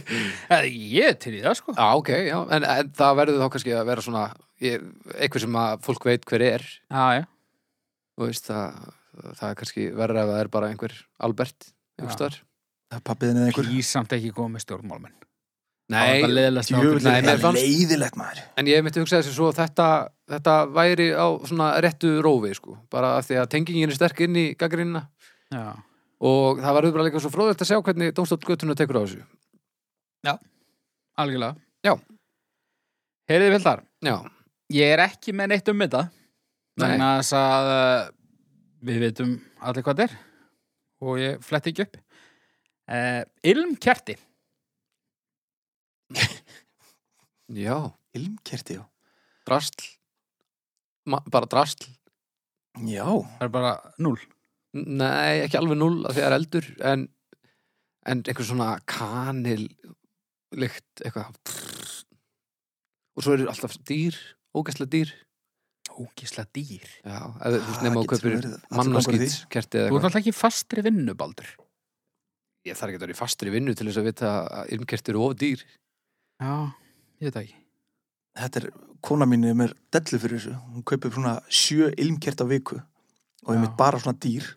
Speaker 2: Eða ég er til í það, sko.
Speaker 3: Já, ok, já, en, en það verður þá kannski að vera svona ég, eitthvað sem að fólk veit hver er
Speaker 2: Já, já.
Speaker 3: og veist, það, það er kannski verður ef það er bara einhver Albert
Speaker 2: Já.
Speaker 3: einhverstaðar
Speaker 1: Það er pappiðin eða einhver.
Speaker 2: Ég samt ekki góð með stjórnmálmenn. Það var bara
Speaker 3: Nei,
Speaker 2: leiðilegast
Speaker 1: Jú,
Speaker 3: Nei,
Speaker 1: það
Speaker 3: mér
Speaker 1: er
Speaker 3: fannst-
Speaker 1: leiðilegt maður.
Speaker 3: en ég myndi hugsa þessi svo að þetta, þetta væri á svona réttu rófi sko, bara af því að tengingin er sterk inn í gaggrínina
Speaker 2: Já.
Speaker 3: og það verður bara líka svo fróðvægt að sjá hvernig Dómstótt Götuna tekur á þessu
Speaker 2: Algjörlega.
Speaker 3: Já.
Speaker 2: Heyriði Vildar,
Speaker 3: Já,
Speaker 2: ég er ekki með neitt um þetta.
Speaker 3: Nei.
Speaker 2: Þannig að þess að uh, við veitum allir hvað þetta er og ég fletti ekki upp. Uh, Ilmkerti.
Speaker 3: já,
Speaker 1: Ilmkerti, já.
Speaker 3: drastl Ma, bara drastl
Speaker 1: Já,
Speaker 2: Það er bara núl.
Speaker 3: Nei, ekki alveg null að því það er eldur en, en einhver svona kanil lykt eitthvað og svo eru alltaf dýr, ógæslega dýr
Speaker 2: Ógisla dýr.
Speaker 3: Já, eða þú veist
Speaker 1: Ah,
Speaker 3: nema og
Speaker 1: getur
Speaker 3: kaupir
Speaker 1: verið. Allir gangur í
Speaker 3: mannaskýtt
Speaker 1: því.
Speaker 3: kerti
Speaker 2: Þú ert
Speaker 3: eða eitthvað
Speaker 2: alltaf ekki í fastri vinnu, Baldur.
Speaker 3: Ég þarf ekki að vera í fastri vinnu til þess að vita að yrmkerti eru of dýr
Speaker 2: Já, ég veit það ekki.
Speaker 1: þetta er, kona mín er mér dellu fyrir þessu. Hún kaupir svona sjö ilmkert á viku og ég
Speaker 2: Já.
Speaker 1: mitt bara svona dýr.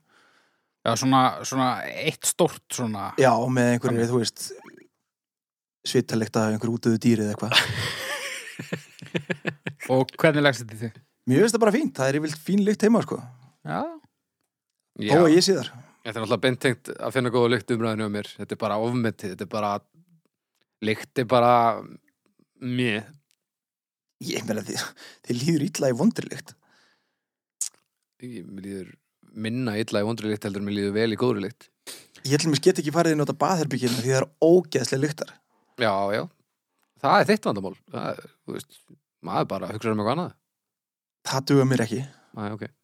Speaker 2: Já, svona, svona eitt stórt svona...
Speaker 1: Já, með einhverju, þú veist, svitalegt af einhverju útöðu dýri eða eitthvað.
Speaker 2: Og hvernig leggst þetta í þig?
Speaker 1: Mér finnst það bara fínt. Það er yfirlt fín lykt heima, sko.
Speaker 2: Já.
Speaker 1: Ó, að ég sé þar.
Speaker 3: Þetta er alltaf beintengt að finna góða lykt umræðinu á mér Þetta er bara ofmetið, þetta er bara lykt er bara mjög
Speaker 1: Ég meina, þið, þið líður illa í vondurlykt.
Speaker 3: ég, mér líður minna illa í vondri lykt heldur en mér líður vel í góðri lykt
Speaker 1: Ég ætlum að get ekki farið inn á þetta baðherbygginu hérna því það er ógeðslega lyktar.
Speaker 3: já, já, það er þitt vandamál það, er, þú veist, maður bara hugsaður um eitthvað annað
Speaker 1: Það duga mér ekki.
Speaker 3: Æ, okay.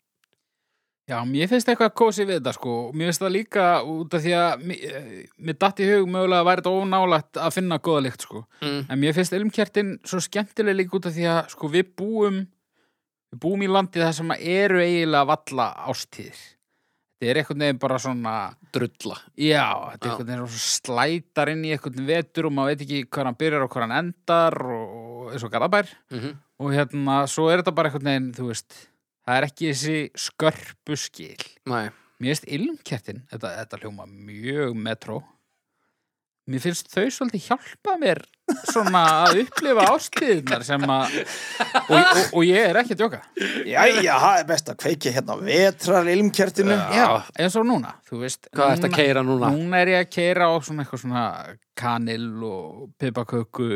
Speaker 2: Já, mér finnst eitthvað kósi við þetta, sko. og Mér finnst það líka út af því að mér, eh, mér datt í hug mögulega að væri þetta ónálægt að finna góða lykt, sko.
Speaker 3: mm.
Speaker 2: En mér finnst ilmkertin svo skemmtileg líka út af því að, sko, við búum, við búum í landi þar sem að eru eiginlega valla ástíðir. Þetta er einhvern veginn bara svona...
Speaker 3: drulla
Speaker 2: Já, þetta
Speaker 3: Já.
Speaker 2: er einhvern veginn rosa slætar inn í einhvern vetur og maður veit ekki hvað hann byrjar og hvað hann endar og og eins og garðabær
Speaker 3: mm -hmm.
Speaker 2: og hérna, svo er þetta bara einhvern veginn, þú veist það er ekki þessi skörpu skil
Speaker 3: Nei,
Speaker 2: Mér finnst ilmkertin, þetta, þetta hljóma mjög metró mér finnst þau svolítið hjálpa mér svona að upplifa ástíðnar sem að og, og, og ég er ekki að djóka
Speaker 1: Jæja, það er best að kveiki hérna á vetrar ilmkjertinu.
Speaker 2: Já, eins og núna, þú veist
Speaker 3: Hvað ertu að
Speaker 2: núna-
Speaker 3: keira núna?
Speaker 2: Núna er ég að keira á svona eitthvað svona kanil og pipaköku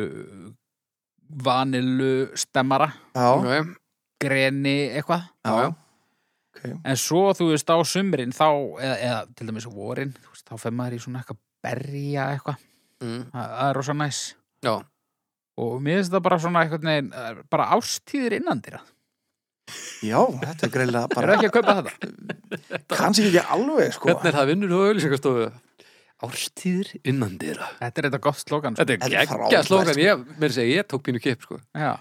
Speaker 2: vanilu stemmara
Speaker 1: Já,
Speaker 3: Ok,
Speaker 2: greni eitthvað
Speaker 3: já, já.
Speaker 1: ok.
Speaker 2: en svo þú veist á sumrin þá, eða, eða til dæmis á vorin þú veist, þá fer maður í svona eitthvað berja eitthvað,
Speaker 3: Mm.
Speaker 2: það það er rosa næs
Speaker 3: Já.
Speaker 2: og mér finnst það bara svona eitthvað negin, bara ástíðir innan dýra
Speaker 1: Já, þetta er greiðlega
Speaker 2: eru
Speaker 1: bara,
Speaker 2: ekki að kaupa þetta?
Speaker 1: kannski ekki alveg, sko.
Speaker 3: Hvernig er það vinnur og auðlýsingastofu? Árstíðir innan dýra.
Speaker 2: Þetta er þetta gott slókan sko.
Speaker 3: Þetta er
Speaker 1: Þetta er
Speaker 3: geggja
Speaker 1: frábært,
Speaker 3: slókan.
Speaker 1: sko.
Speaker 3: Ég, mér segi, ég tók pínu kip, sko.
Speaker 2: Já.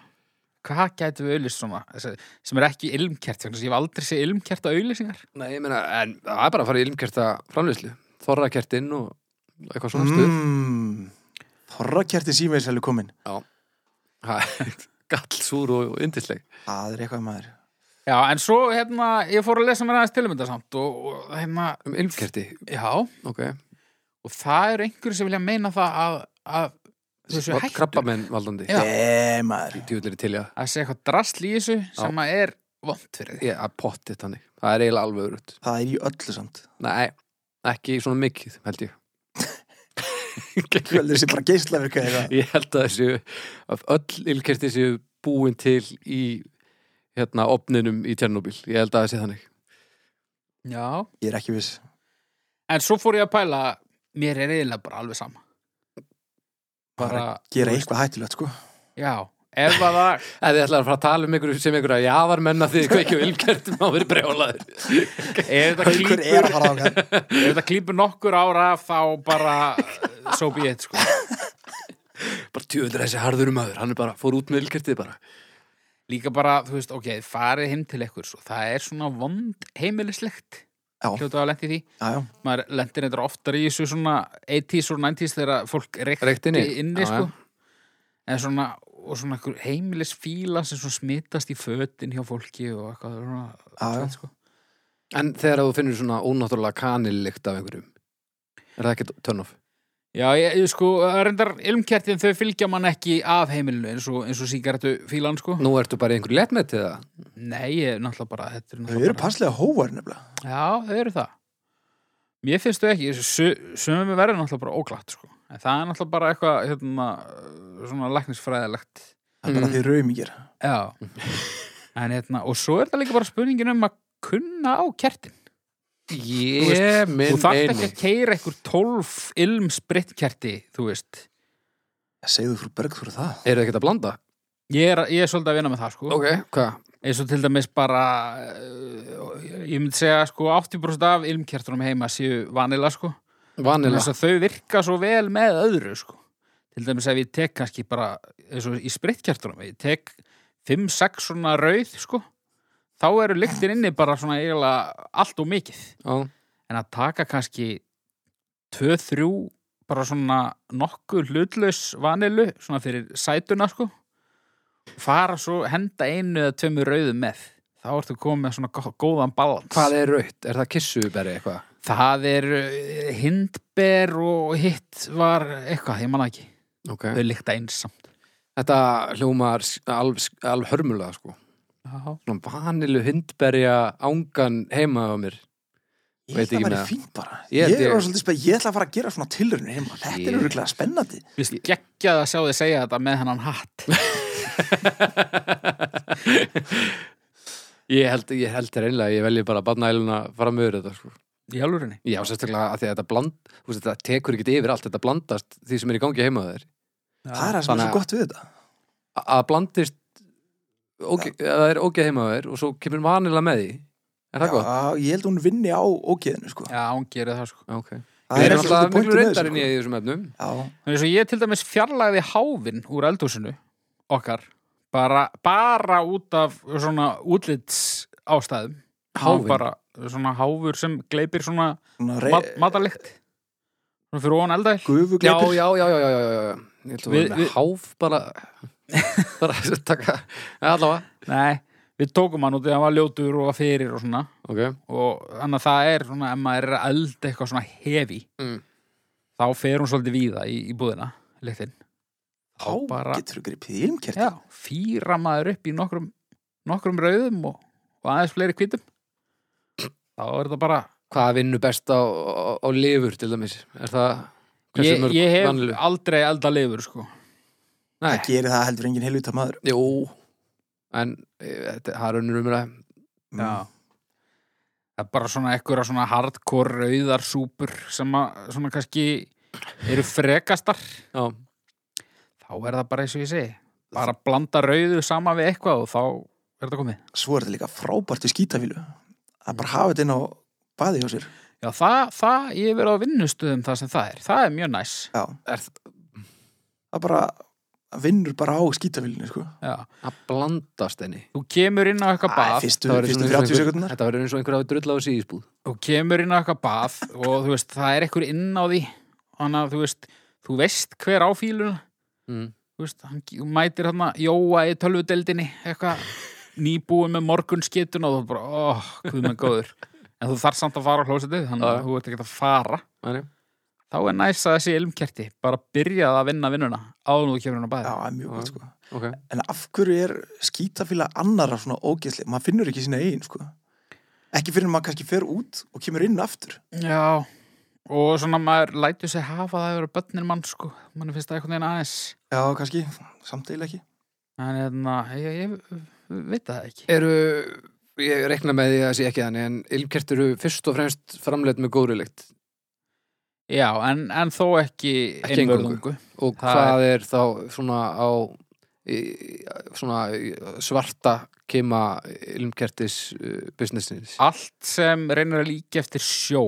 Speaker 2: hvað gætu við auðlýst svona Þessi- sem er ekki ilmkert, vegna þess að ég hef aldrei séð ilmkert á auðlýsingar
Speaker 3: Nei, ég meina, en það er bara að fara í ilmkerta framlýslu. Þorrakertinn og eitthvað svona stuð.
Speaker 1: Mm, Þorrakjertin símiðis helgur komin.
Speaker 3: Ha, Gallsúr og, og yndisleg.
Speaker 1: Það er eitthvað maður.
Speaker 2: Já, en svo hérna, ég fór að lesa mér aðeins tilmynda samt og, og hérna,
Speaker 3: Um ilmkerti,
Speaker 2: já
Speaker 3: ok.
Speaker 2: og það eru einhverjur sem vilja meina það að, að þessu hættu
Speaker 3: Krabbamenn valdandi.
Speaker 2: Já.
Speaker 1: Nei, maður.
Speaker 3: Djúðlir til, já.
Speaker 2: að segja eitthvað drasl í þessu sem að er vond fyrir þig
Speaker 3: Ég að pottið þannig. Það er eiginlega alveg örutt.
Speaker 1: Það er í öllu samt.
Speaker 3: Nei, ekki svona mikið, held ég.
Speaker 1: Kveldur þessi bara geislaverka eitthvað.
Speaker 3: Ég held að þessu að öll ilkerti séu búin til í hérna opninum í Tjernobyl. Ég held að það sé þannig.
Speaker 2: Já.
Speaker 1: Ég er ekki viss.
Speaker 2: en svo fór ég að pæla mér er eiginlega bara alveg sama bara,
Speaker 1: Gera eitthvað hættulegt, sko.
Speaker 2: já, ef að það
Speaker 3: Ef þið ætlaði að fara að tala um einhverju sem einhverja jávar menna því þið kveikju ilkertum á verið brjólaður.
Speaker 2: ef það
Speaker 1: Haukur er
Speaker 2: klípur,
Speaker 1: að fara á hann.
Speaker 2: ef það klípur nokkur ára af, þá bara eh, so be it sko.
Speaker 3: Bara tjóður þessi harður um aður. Hann er bara, fór út með ilkertið bara.
Speaker 2: líka bara, þú veist, ok, farið heim til ekkur svo. það er svona vond heimilislegt
Speaker 1: Já.
Speaker 2: hljóta að lendi því
Speaker 1: Já, já.
Speaker 2: maður lendir eitthvað oftar í þessu svona 80s og 90s þegar fólk
Speaker 3: Reykti
Speaker 2: reykti
Speaker 3: inni,
Speaker 2: inni,
Speaker 3: já,
Speaker 2: sko. en svona, og svona einhver heimilis fíla sem svona smitast í fötin hjá fólki og eitthvað svona,
Speaker 1: Já, já.
Speaker 2: svona, sko.
Speaker 3: En þegar þú finnur svona ónáttúrulega kanillikt af einhverjum, er það ekki törnof?
Speaker 2: já ég, ég sko, það er reyndar ilmkertin þau fylgja mann ekki af heimilinu eins og, eins og síkartu fílan sko
Speaker 3: Nú ertu bara í einhverju lett með til það.
Speaker 2: nei, ég er náttúrulega bara þetta er
Speaker 1: Þau
Speaker 2: náttúrulega
Speaker 1: eru
Speaker 2: bara,
Speaker 1: passlega hóvar nefnilega.
Speaker 2: já, þau eru það mér finnst þau ekki sumum við verður náttúrulega bara óglatt sko. en það er náttúrulega bara eitthvað hérna, svona læknisfræðilegt
Speaker 1: Það er bara
Speaker 3: Mm.
Speaker 1: því raumingir.
Speaker 2: Já en, hérna, Og svo er það líka bara spurningin um að kunna á kertin Þú
Speaker 3: Ég
Speaker 2: veist, Þú
Speaker 3: minn
Speaker 2: þarft ekki
Speaker 3: einu.
Speaker 2: að keira einhver tólf ilm sprittkerti, þú veist
Speaker 1: Segðu frú Bergþór það.
Speaker 3: Eru þið ekki að blanda?
Speaker 2: Ég er, ég er svolítið að vinna með það sko
Speaker 3: Ok, hvað?
Speaker 2: eins og til dæmis bara eh, ég myndi segja sko 80% af ilmkertunum heima séu vanila sko
Speaker 3: Vanilla.
Speaker 2: þess að þau virka svo vel með öðru sko. til dæmis ef ég tek kannski bara eins og í sprittkertunum ef ég tek 5-6 svona rauð sko, þá eru lyktin inni bara svona eiginlega allt og mikið
Speaker 3: Já.
Speaker 2: en að taka kannski 2-3 bara svona nokkuð hlutlaus vanilu svona fyrir sætuna sko fara svo henda einu eða tveimur rauðum með þá ertu komið með svona gó- góðan balans
Speaker 3: Hvað er rautt? Er það kissuberi eitthvað?
Speaker 2: Það er eh, hindber og hitt var eitthvað, ég manna ekki.
Speaker 3: Ok.
Speaker 2: Þau líkta einsamt.
Speaker 3: Þetta hljómar s- alv, alv hörmulega sko.
Speaker 2: Já.
Speaker 3: Svona vanilu hindberja ángan heima á mér.
Speaker 1: Ég
Speaker 3: Veit
Speaker 1: held að
Speaker 3: ekki
Speaker 1: það væri
Speaker 3: með það.
Speaker 1: fínt bara.
Speaker 3: Ég
Speaker 1: Ég
Speaker 3: held
Speaker 1: er
Speaker 3: ég-
Speaker 1: orðinn svolítið spennt. Ég ætla að fara að gera svona tilrunni heima. Þetta er
Speaker 3: Ég-
Speaker 1: öruglega spennandi.
Speaker 2: Vist geggjað að sjá þið segja þetta með hennan hatt.
Speaker 3: Ég held, ég held þér einlega, ég velji bara barnæluna fram yfir þetta sko.
Speaker 2: Í alvörinni.
Speaker 3: Já, sérstaklega að því að þetta bland, þú veist, þetta tekur ekkert yfir allt, þetta blandast því sem er í gangi heima á þér.
Speaker 1: Það er það sem er
Speaker 3: Þannig
Speaker 1: svo
Speaker 3: að-
Speaker 1: gott við þetta.
Speaker 3: A- Að blandist, óge, að það er ógeð heima á þér og svo kemur vanilla með því. Er það gott?
Speaker 1: Já, ég held hún vinni á ógeðinu, sko.
Speaker 2: Já, hún gerir það sko.
Speaker 3: Já, Ok.
Speaker 1: Það er
Speaker 3: Við erum
Speaker 1: ekki svolítið
Speaker 3: alltaf miklu
Speaker 1: pointið með
Speaker 3: reyndarinn í
Speaker 1: þessu,
Speaker 3: þessum efnum.
Speaker 1: sko. Já,
Speaker 2: Þannig svo ég til dæmis fjarlæði háfinn úr eldhúsinu okkar bara, bara út af svona útlits ástæðum. Hann var
Speaker 3: Háfinn?
Speaker 2: Bara svona háfur sem gleipir svona
Speaker 1: svona
Speaker 2: mat,
Speaker 1: rey...
Speaker 2: matalikt. Svona fyrir ofan eldæl.
Speaker 3: Já,
Speaker 1: Gufugleipir.
Speaker 3: já, já, já, já, já, já, já. Ég ætla að
Speaker 2: Við-
Speaker 3: vera með
Speaker 2: við-
Speaker 3: háf bara bara að taka ja, allavega,
Speaker 2: Nei, við tókum hann út þegar hann var ljótur og var fyrir og svona.
Speaker 3: ok
Speaker 2: og þannig að það er svona ef maður er að elda eitthvað svona hefi
Speaker 3: Mm.
Speaker 2: þá fer hún svolítið víða í, í búðina lyktinn
Speaker 1: Þá
Speaker 2: Þá bara-
Speaker 1: getur þú gripið í ilmkerti.
Speaker 2: Já, fýra maður upp í nokkrum, nokkrum rauðum og, og aðeins fleiri hvítum þá er þetta bara
Speaker 3: Hvað vinnur best á, á, á lifur til dæmis? Er það hversu
Speaker 2: ég,
Speaker 3: mörg
Speaker 2: ég hef
Speaker 3: vanlu?
Speaker 2: aldrei elda lifur sko.
Speaker 3: Nei,
Speaker 1: Það gerir það heldur enginn heiluta maður.
Speaker 3: jú, en e, þetta það er önnur umræða. Mm.
Speaker 2: Já. það er bara svona ekkur svona hardcore rauðar súpur sem að svona kannski eru frekastar
Speaker 3: Já,
Speaker 2: þá er það bara eins og ég segi bara blanda rauðu sama við eitthvað og þá er þetta komið
Speaker 1: Svo er þetta líka frábært í skítafílu. Að bara hafa þetta inn á baði hjá sér.
Speaker 2: Já, það, það, ég hef verið á vinnustuðum það sem það er, það er mjög næs
Speaker 1: Já.
Speaker 3: er það
Speaker 1: Það bara vinnur bara á skítafílinu, sko.
Speaker 2: Já.
Speaker 3: að blandast henni?
Speaker 2: Þú kemur inn á eitthvað
Speaker 1: Æ,
Speaker 2: bað
Speaker 1: Fyrstu,
Speaker 3: Það væri
Speaker 1: fyrstu
Speaker 3: svona eins
Speaker 1: 30
Speaker 3: og einhver-
Speaker 1: sekundunar.
Speaker 3: Þetta verður eins og einhver hafi drull á þessi ísbúð.
Speaker 2: þú kemur inn á eitthvað bað og þú veist, það er ekkur inn á því þannig að þú veist, þú veist hver á fíluna
Speaker 3: Mm.
Speaker 2: þú veist, hann þú mætir hann Jóa í tölvudeldinni, eitthvað nýbúin með morgunskitun og þú bara, óh, hvað með góður en þú þarf samt að fara á hlósitið þannig
Speaker 3: Já.
Speaker 2: að þú ert ekki að fara
Speaker 3: Þannig.
Speaker 2: þá er næs að þessi ilmkerti, bara byrjaði að vinna vinnuna áður nú kemur hann á
Speaker 1: Já,
Speaker 2: bæði
Speaker 1: það er mjög gott,
Speaker 3: Já.
Speaker 1: sko.
Speaker 3: Ok,
Speaker 1: En af hverju er skítafíla annara svona ógeðsli? Maður finnur ekki sína eigin, sko. Ekki fyrir en maður kannski fer út og kemur inn aftur.
Speaker 2: Já, og svona maður lætur sig hafa það að vera börnin mann sko, mann finnst það eitthvað aðeins
Speaker 1: Já, kannski, samt eil ekki.
Speaker 2: en hérna, ég, ég, ég veit það ekki
Speaker 3: eru, ég rekna með því að það sé ekki þannig, en ilmkert eru fyrst og fremst framleitt með góðriðlegt.
Speaker 2: Já, en, en þó ekki,
Speaker 3: Ekki eingöngu.
Speaker 2: einvörðungu.
Speaker 3: Og
Speaker 2: Það
Speaker 3: hvað er þá svona á í, svona í svarta kema ilmkertis uh, businessins?
Speaker 2: Allt sem reynir að líka eftir sjó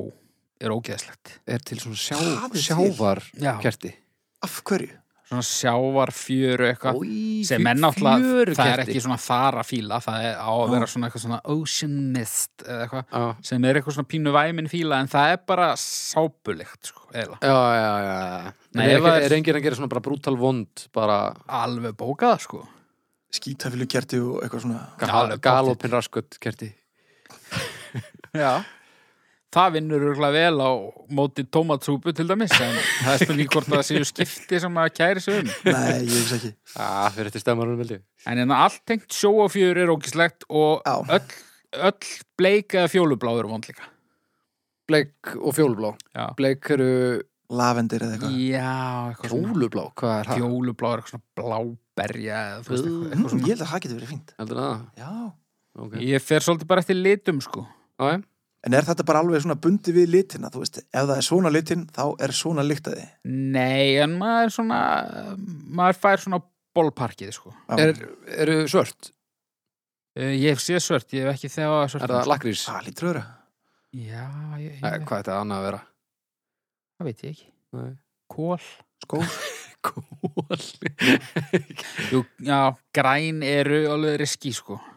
Speaker 2: er ógeðslegt.
Speaker 3: Er til svona sjá,
Speaker 1: Það er til.
Speaker 3: sjávar
Speaker 2: Já.
Speaker 3: kerti?
Speaker 1: Af hverju?
Speaker 2: Svona sjávar, fjöru eitthvað.
Speaker 3: Í,
Speaker 2: Sem er náttúrulega, það er ekki svona þar að fíla, það er á að vera svona eitthvað svona ocean mist eða eitthvað.
Speaker 3: Já,
Speaker 2: Sem er eitthvað svona pínu væmin fíla en það er bara sápulegt sko, eða.
Speaker 3: já, já, já, já.
Speaker 2: Nei,
Speaker 3: Nei, er,
Speaker 2: ef það
Speaker 3: ekki,
Speaker 2: er-
Speaker 3: er enginn að gera svona bara brútal vond, bara
Speaker 2: Alveg bókað sko.
Speaker 1: Skítafílu kerti og eitthvað svona.
Speaker 3: gal,
Speaker 2: alveg
Speaker 3: galopin raskut kerti?
Speaker 2: Já. Það vinnur örgulega vel á móti tómatsúpu til dæmis en það er spurning hvort það séu skipti sem að kæri sig um.
Speaker 1: Nei, ég veist ekki.
Speaker 3: Ah, fyrir þetta stemmarunum veldi.
Speaker 2: En hérna allt tengt sjó og fjör er ógislegt og
Speaker 1: Já.
Speaker 2: öll, öll bleika eða fjólubláður vond líka.
Speaker 3: Bleik og fjólublá.
Speaker 2: Já,
Speaker 3: Bleik eru
Speaker 1: Lavendir eða eitthvað.
Speaker 2: Já eitthvað svona.
Speaker 3: fjólublá, hvað er það?
Speaker 2: Fjólubláður, eitthvað svona bláberja eða þú veist eitthvað,
Speaker 3: Mm,
Speaker 2: eitthvað
Speaker 1: Mm,
Speaker 2: svona.
Speaker 1: ég held að það getur verið fínt.
Speaker 3: Heldur það?
Speaker 1: Já.
Speaker 3: Ok.
Speaker 2: Ég fer svolítið bara eftir litum sko.
Speaker 3: Já, já.
Speaker 1: En er þetta bara alveg svona bundi við litina, þú veist? Ef það er svona litin, þá er svona lyktaði.
Speaker 2: Nei, en maður svona, maður fær svona bólparkið sko.
Speaker 3: Er, eru svört?
Speaker 2: Eh, Ég hef séð svört, ég hef ekki þegar svört.
Speaker 3: Er það lakrís?
Speaker 1: Það lítur öðra.
Speaker 2: Já, ég, ég,
Speaker 3: Nei, Hvað er þetta annað að vera?
Speaker 2: það veit ég ekki.
Speaker 3: Nei.
Speaker 2: Kól.
Speaker 1: Skó.
Speaker 3: Kól.
Speaker 2: Jú, já, græn eru alveg riski sko.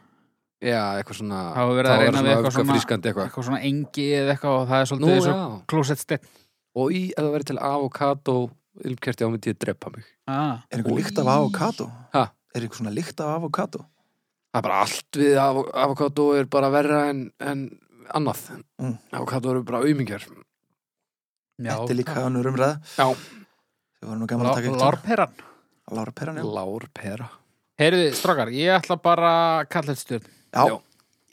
Speaker 3: Já, eitthvað svona
Speaker 2: Það var verið að reyna við eitthvað svona-
Speaker 3: frískandi eitthvað
Speaker 2: Eitthvað svona engi eða eitthvað og það er
Speaker 3: Nú,
Speaker 2: svolítið eins
Speaker 3: já
Speaker 2: og klósettsteinn.
Speaker 3: Og í, ef það verið til avokado ilmkerti ámyndi ég að drepa mig
Speaker 2: Ah.
Speaker 1: Er einhver
Speaker 3: Oj.
Speaker 1: lykt af avokado?
Speaker 3: Ha?
Speaker 1: Er einhver svona lykt af avokado?
Speaker 3: Það er bara allt við avo- avokado er bara verra en, en annað
Speaker 1: Mm.
Speaker 3: Avokado eru bara auðmingjar
Speaker 2: Já,
Speaker 1: Þetta er líka önnur umræða.
Speaker 3: Já,
Speaker 1: Við vorum nú gaman að taka eitt.
Speaker 2: Lárperan
Speaker 1: Lára Peran, já.
Speaker 3: lár pera
Speaker 2: Heyrðu, strákar, ég ætla bara að kalla þetta stjórn
Speaker 1: Já.
Speaker 3: Já.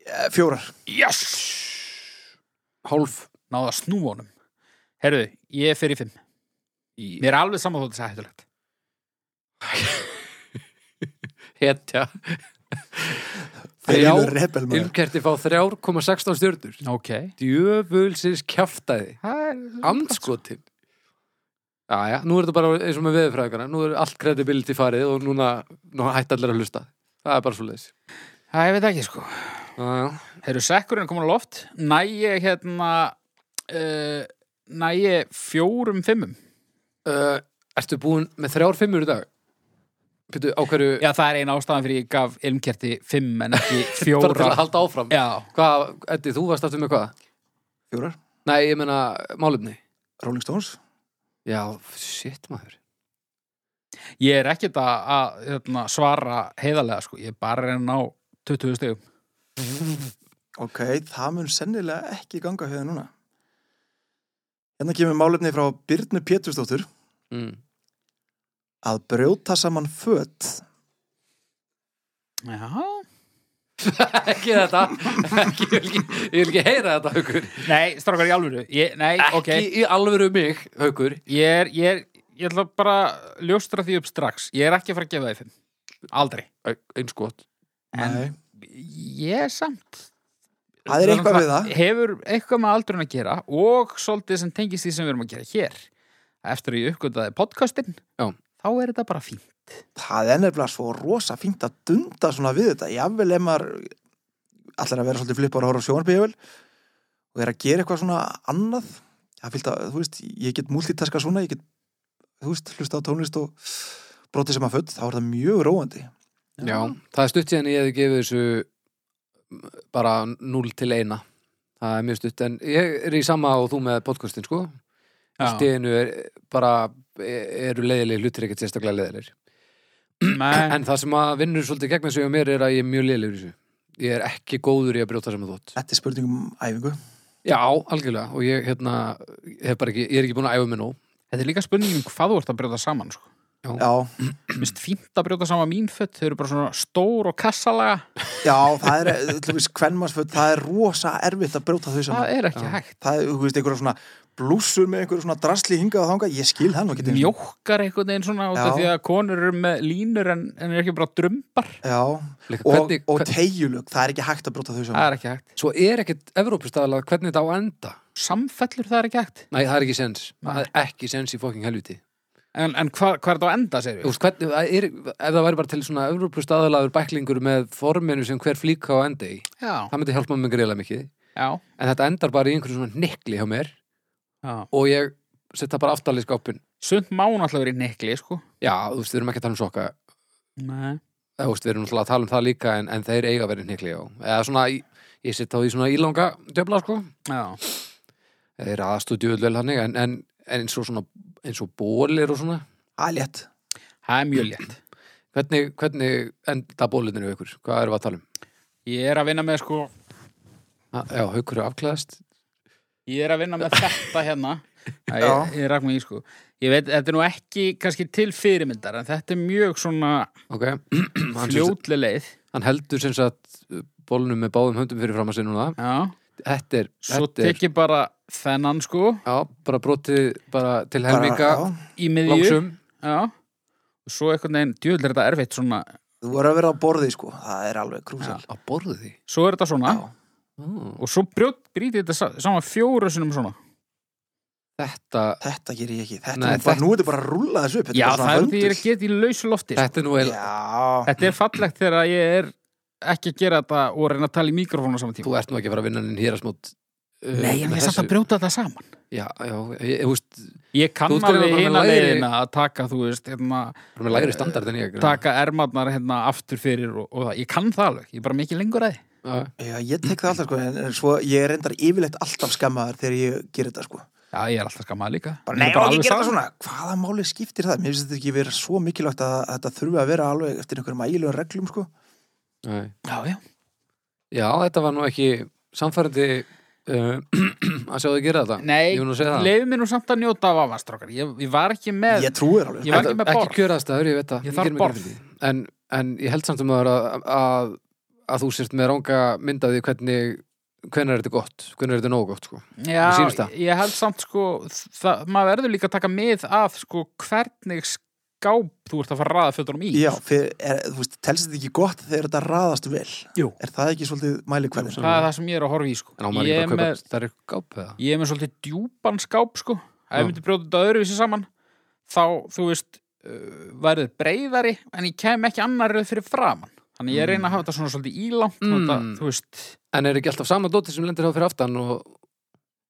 Speaker 1: Eh, Fjórar.
Speaker 2: Yes!
Speaker 3: Hálf
Speaker 2: Náða snú honum Heyrðu, ég fer í fimm
Speaker 3: í
Speaker 2: Mér er alveg saman þótt þess að hættulegt
Speaker 3: hetja
Speaker 1: Þeir
Speaker 3: Þrjár
Speaker 1: eru rebel maður.
Speaker 3: ilmkerti fá 3,16 stjörnur
Speaker 2: Ok
Speaker 3: Djöfulsins kjaftaði Andskotin Jæja, nú er þetta bara eins og með veðurfræðingarna Nú er allt credibility farið og núna nú hætti allir að hlusta Það er bara svo leiðis
Speaker 2: Það ég veit ekki sko
Speaker 3: Já,
Speaker 2: Heyrðu, sekkurinn er komin á loft Næ ég hérna uh, Næ ég fjórum fimmum
Speaker 3: uh, Ertu búin með þrjár fimmur í dag? Pytu, á hverju
Speaker 2: Já, það er eina ástæðan fyrir ég gaf ilmkerti fimm en ekki
Speaker 3: bara til að
Speaker 2: fjóra
Speaker 3: halda áfram
Speaker 2: Já,
Speaker 3: Hvað, Eddi, þú varst aftur með hvað?
Speaker 1: Fjórar.
Speaker 3: Nei, ég meina málefni
Speaker 1: Rolling Stones.
Speaker 3: Já, shit maður
Speaker 2: ég er ekkert að, að hérna, svara heiðarlega sko Ég er bara að reyna á 20 stegum
Speaker 1: Ok, það mun sennilega ekki ganga hefði núna. Hérna kemur málefni frá Byrnu Pétursdóttur
Speaker 3: Mm.
Speaker 1: að brjóta saman fött.
Speaker 2: Já.
Speaker 3: ekki þetta ekki, ég, vil ekki, ég vil ekki heyra þetta haukur
Speaker 2: Nei, strákar í alvöru. Ég, nei,
Speaker 3: ekki
Speaker 2: ok.
Speaker 3: í alvöru mig haukur
Speaker 2: Ég er, ég er, ég ætla bara að ljóstra því upp strax. Ég er ekki að fara að gefa því fimm. Aldrei.
Speaker 3: Æ, eins gott
Speaker 2: En
Speaker 1: Nei.
Speaker 2: ég er samt.
Speaker 1: Það er eitthvað við það.
Speaker 2: Hefur eitthvað með aldurinn að gera og svolítið sem tengist því sem við erum að gera hér. Eftir að ég uppgötaði podcastinn,
Speaker 3: Já.
Speaker 2: þá er þetta bara fín.
Speaker 1: Það er nefnilega svo rosa fínt að dunda svona við þetta. Jafnvel ef maður allir að vera svolítið flippar að horfa á sjónarbygjövel og er að gera eitthvað svona annað. Það fylgta, þú veist, ég get multitaska svona, ég get, þú veist, hlusta á tónlist og brotið saman fött, þá er það mjög róandi.
Speaker 3: Já, það er stutt síðan ég hefði gefið þessu mm, bara 0 til 1 það er mjög stutt en ég er í sama og þú með podcastin sko allt í
Speaker 2: Já.
Speaker 3: einu er bara e, eru leiðilegir hlutir ekkert sérstaklega leiðilegir
Speaker 2: Nei.
Speaker 3: en það sem að vinnur svolítið gegn þessu hjá mér er að ég er mjög leiðilegur í þessu ég er ekki góður í að brjóta saman þótt
Speaker 1: Þetta er spurningum æfingu.
Speaker 3: Já, algjörlega og ég hérna hef bara ekki, ég er ekki búin að æfa mig nóg
Speaker 2: Þetta er líka spurningin um hvað þú ert að brjóta saman, sko.
Speaker 1: Já,
Speaker 2: Mist fínt að brjóta saman mín fött, þau eru bara svona stór og kassalaga.
Speaker 1: já, það er, þú veist, kvenmannsfött, það er rosa erfitt að brjóta þau saman.
Speaker 2: Það er ekki
Speaker 3: Já.
Speaker 2: hægt.
Speaker 1: það, þú veist, einhverja svona blússur með einhverju svona drasli hingað og þangað, ég skil það nú ekki
Speaker 2: mjókkar einhvern veginn svona út af
Speaker 1: Já.
Speaker 2: því að konur eru með línur en, en er ekki bara drömbar
Speaker 1: Já,
Speaker 3: Líka,
Speaker 1: og,
Speaker 3: hvernig,
Speaker 1: og tegjulög, það er ekki hægt að brota þau
Speaker 2: það
Speaker 1: saman
Speaker 2: er ekki hægt,
Speaker 3: Svo er ekkert Evrópustæðalega hvernig þetta á að enda
Speaker 2: samfellur það er ekki hægt
Speaker 3: Nei, það er ekki sens, það
Speaker 2: Nei.
Speaker 3: er ekki sens í fokking helviti
Speaker 2: en, en hva, hvað er það á enda, segir við?
Speaker 3: Þú veist, hvernig, það er, ef það væri bara til svona Evrópust aðalagur bæklingur með forminu sem hver flíka á enda í,
Speaker 2: Já,
Speaker 3: það myndi hjálpa mig greiðlega mikið,
Speaker 2: já,
Speaker 3: en þetta endar bara í einhverju svona nikli hjá mér
Speaker 2: já.
Speaker 3: og ég setja bara aftalið skápin
Speaker 2: Sund má náttúrulega verið nekli, sko
Speaker 3: Já, þú veist, við erum ekki að tala um soka
Speaker 2: Nei.
Speaker 3: eða, Eh, þú veist, við erum náttúrulega að tala um það líka en, en þeir eiga að vera nikli á, eða svona ég, ég setja á því svona ílanga döfla, sko
Speaker 2: Já,
Speaker 3: þeir eru aðstúdju vel hannig, en, en, en eins og svona eins og bólir og svona
Speaker 1: Það er létt
Speaker 2: það er mjög létt
Speaker 3: hvernig, hvernig enda bólinir í ykkur, hvað erum við að tala um?
Speaker 2: Ég er að vinna með, sko
Speaker 3: Ha, Ah, Já, haukur er afklæðast
Speaker 2: Ég er að vinna með þetta hérna Æ,
Speaker 1: Já.
Speaker 2: ég, ég rak mig í, sko Ég veit, þetta er nú ekki kannski til fyrirmyndar en þetta er mjög svona
Speaker 3: Ok, Hann sem-
Speaker 2: fljótli leið
Speaker 3: hann heldur sem sagt bólnum með báðum höndum fyrir fram að sinna núna
Speaker 2: Já,
Speaker 3: þetta er,
Speaker 2: svo
Speaker 3: þetta er
Speaker 2: tek ég bara þennan, sko
Speaker 3: já, bara brotið bara til
Speaker 1: Bara-
Speaker 3: helminga
Speaker 1: já,
Speaker 2: í miðju
Speaker 3: langsum
Speaker 2: Já, og svo einhvern veginn, djúvill er þetta erfitt svona,
Speaker 1: Þú voru að vera á borði, sko, það er alveg krúsal
Speaker 3: á borðu því
Speaker 2: svo er þetta svona
Speaker 1: Já.
Speaker 3: mm.
Speaker 2: og svo brjótt, brýti þetta sa- saman fjóru sinum svona.
Speaker 3: þetta,
Speaker 1: Þetta ger ég ekki, þetta
Speaker 3: Nei,
Speaker 1: er bara,
Speaker 3: þetta-
Speaker 1: nú er þetta bara að rúlla þessu upp þetta
Speaker 2: Já,
Speaker 1: bara svona
Speaker 2: það er því ég er
Speaker 1: vöndur.
Speaker 2: að geta í lausu lofti. sko.
Speaker 3: þetta er nú eil,
Speaker 1: Já,
Speaker 2: Þetta er fallegt þegar ég er ekki að gera þetta og reyna að tala í mikrofónu saman tíma.
Speaker 3: þú ert nú ekki að fara að vinna henni hér að smót
Speaker 2: Nei, en ég er samt að brjóta þetta saman.
Speaker 3: já, já, ég, ég veist,
Speaker 2: Ég kann
Speaker 3: Þú ert
Speaker 2: alveg
Speaker 3: greinilega bara með
Speaker 2: hina
Speaker 3: lægri-
Speaker 2: leiðina að taka, þú veist, hérna,
Speaker 3: það er með lægri standard en ég greinilega.
Speaker 2: taka ermarnar hérna aftur fyrir og, og það. Ég kann það alveg, ég er bara mikið lengur að því.
Speaker 3: Já,
Speaker 1: já, ég tek það alltaf, sko, en en svo ég er reyndar yfirleitt alltaf skammaður þegar ég ger þetta, sko
Speaker 2: Já, ég er alltaf skamað líka.
Speaker 1: bara,
Speaker 2: Ég
Speaker 1: Nei,
Speaker 2: er
Speaker 1: og ég
Speaker 2: alveg
Speaker 1: ger það
Speaker 2: sama.
Speaker 1: svona, hvaða máli skiptir það? Mér finnst þetta ekki vera svo mikilvægt að, að þetta þurfi að vera alveg eftir einhverjum ægilegum reglum, sko
Speaker 3: nei.
Speaker 2: Já, já.
Speaker 3: já, þetta var nú ekki samfærandi uh, að sjá þau gera þetta
Speaker 2: Nei,
Speaker 3: ég vil nú segja það
Speaker 2: leiði mér nú samt að njóta af afastrákar. Ég, ég var ekki með...
Speaker 1: Ég trúi þér alveg
Speaker 2: Ég var ekki
Speaker 3: Þetta-
Speaker 2: með borð.
Speaker 3: ekki kjöraðstæður, ég veit það
Speaker 2: Ég
Speaker 3: Ég
Speaker 2: þarf
Speaker 3: geri mér grein
Speaker 2: borð.
Speaker 3: fyrir því. en, en ég held samt um að, að, að þú sért með ranga mynd af því hvernig hvernig er þetta gott, hvernig er þetta nógu gott sko. Mér
Speaker 2: Já,
Speaker 3: sýnist það.
Speaker 2: ég held samt sko það, maður verður líka að taka mið af sko hvernig skáp þú ert að fara að raða fötunum í
Speaker 1: Já, fyrir, er, þú veist, telst þetta ekki gott þegar þetta raðast vel?
Speaker 2: Jú.
Speaker 1: Er það ekki svolítið mælikvæðin?
Speaker 2: það er það sem ég er að horfa í
Speaker 3: en á
Speaker 2: sko
Speaker 3: maður
Speaker 2: ég
Speaker 3: ekki
Speaker 2: er,
Speaker 3: bara að
Speaker 2: með,
Speaker 3: kaupa stærri gáp eða
Speaker 2: ég er með svolítið djúpan skáp sko ef
Speaker 3: Já.
Speaker 2: ég myndi brjóta þetta öðruvísi saman þá, þú veist, uh, værið breyðari en ég kem ekki annar röð fyrir framann þannig ég reyna að hafa þetta svona svolítið ílangt
Speaker 3: Mm.
Speaker 2: þetta, þú veist,
Speaker 3: en er ekki alltaf sama dótið sem lendir þá fyrir aftan og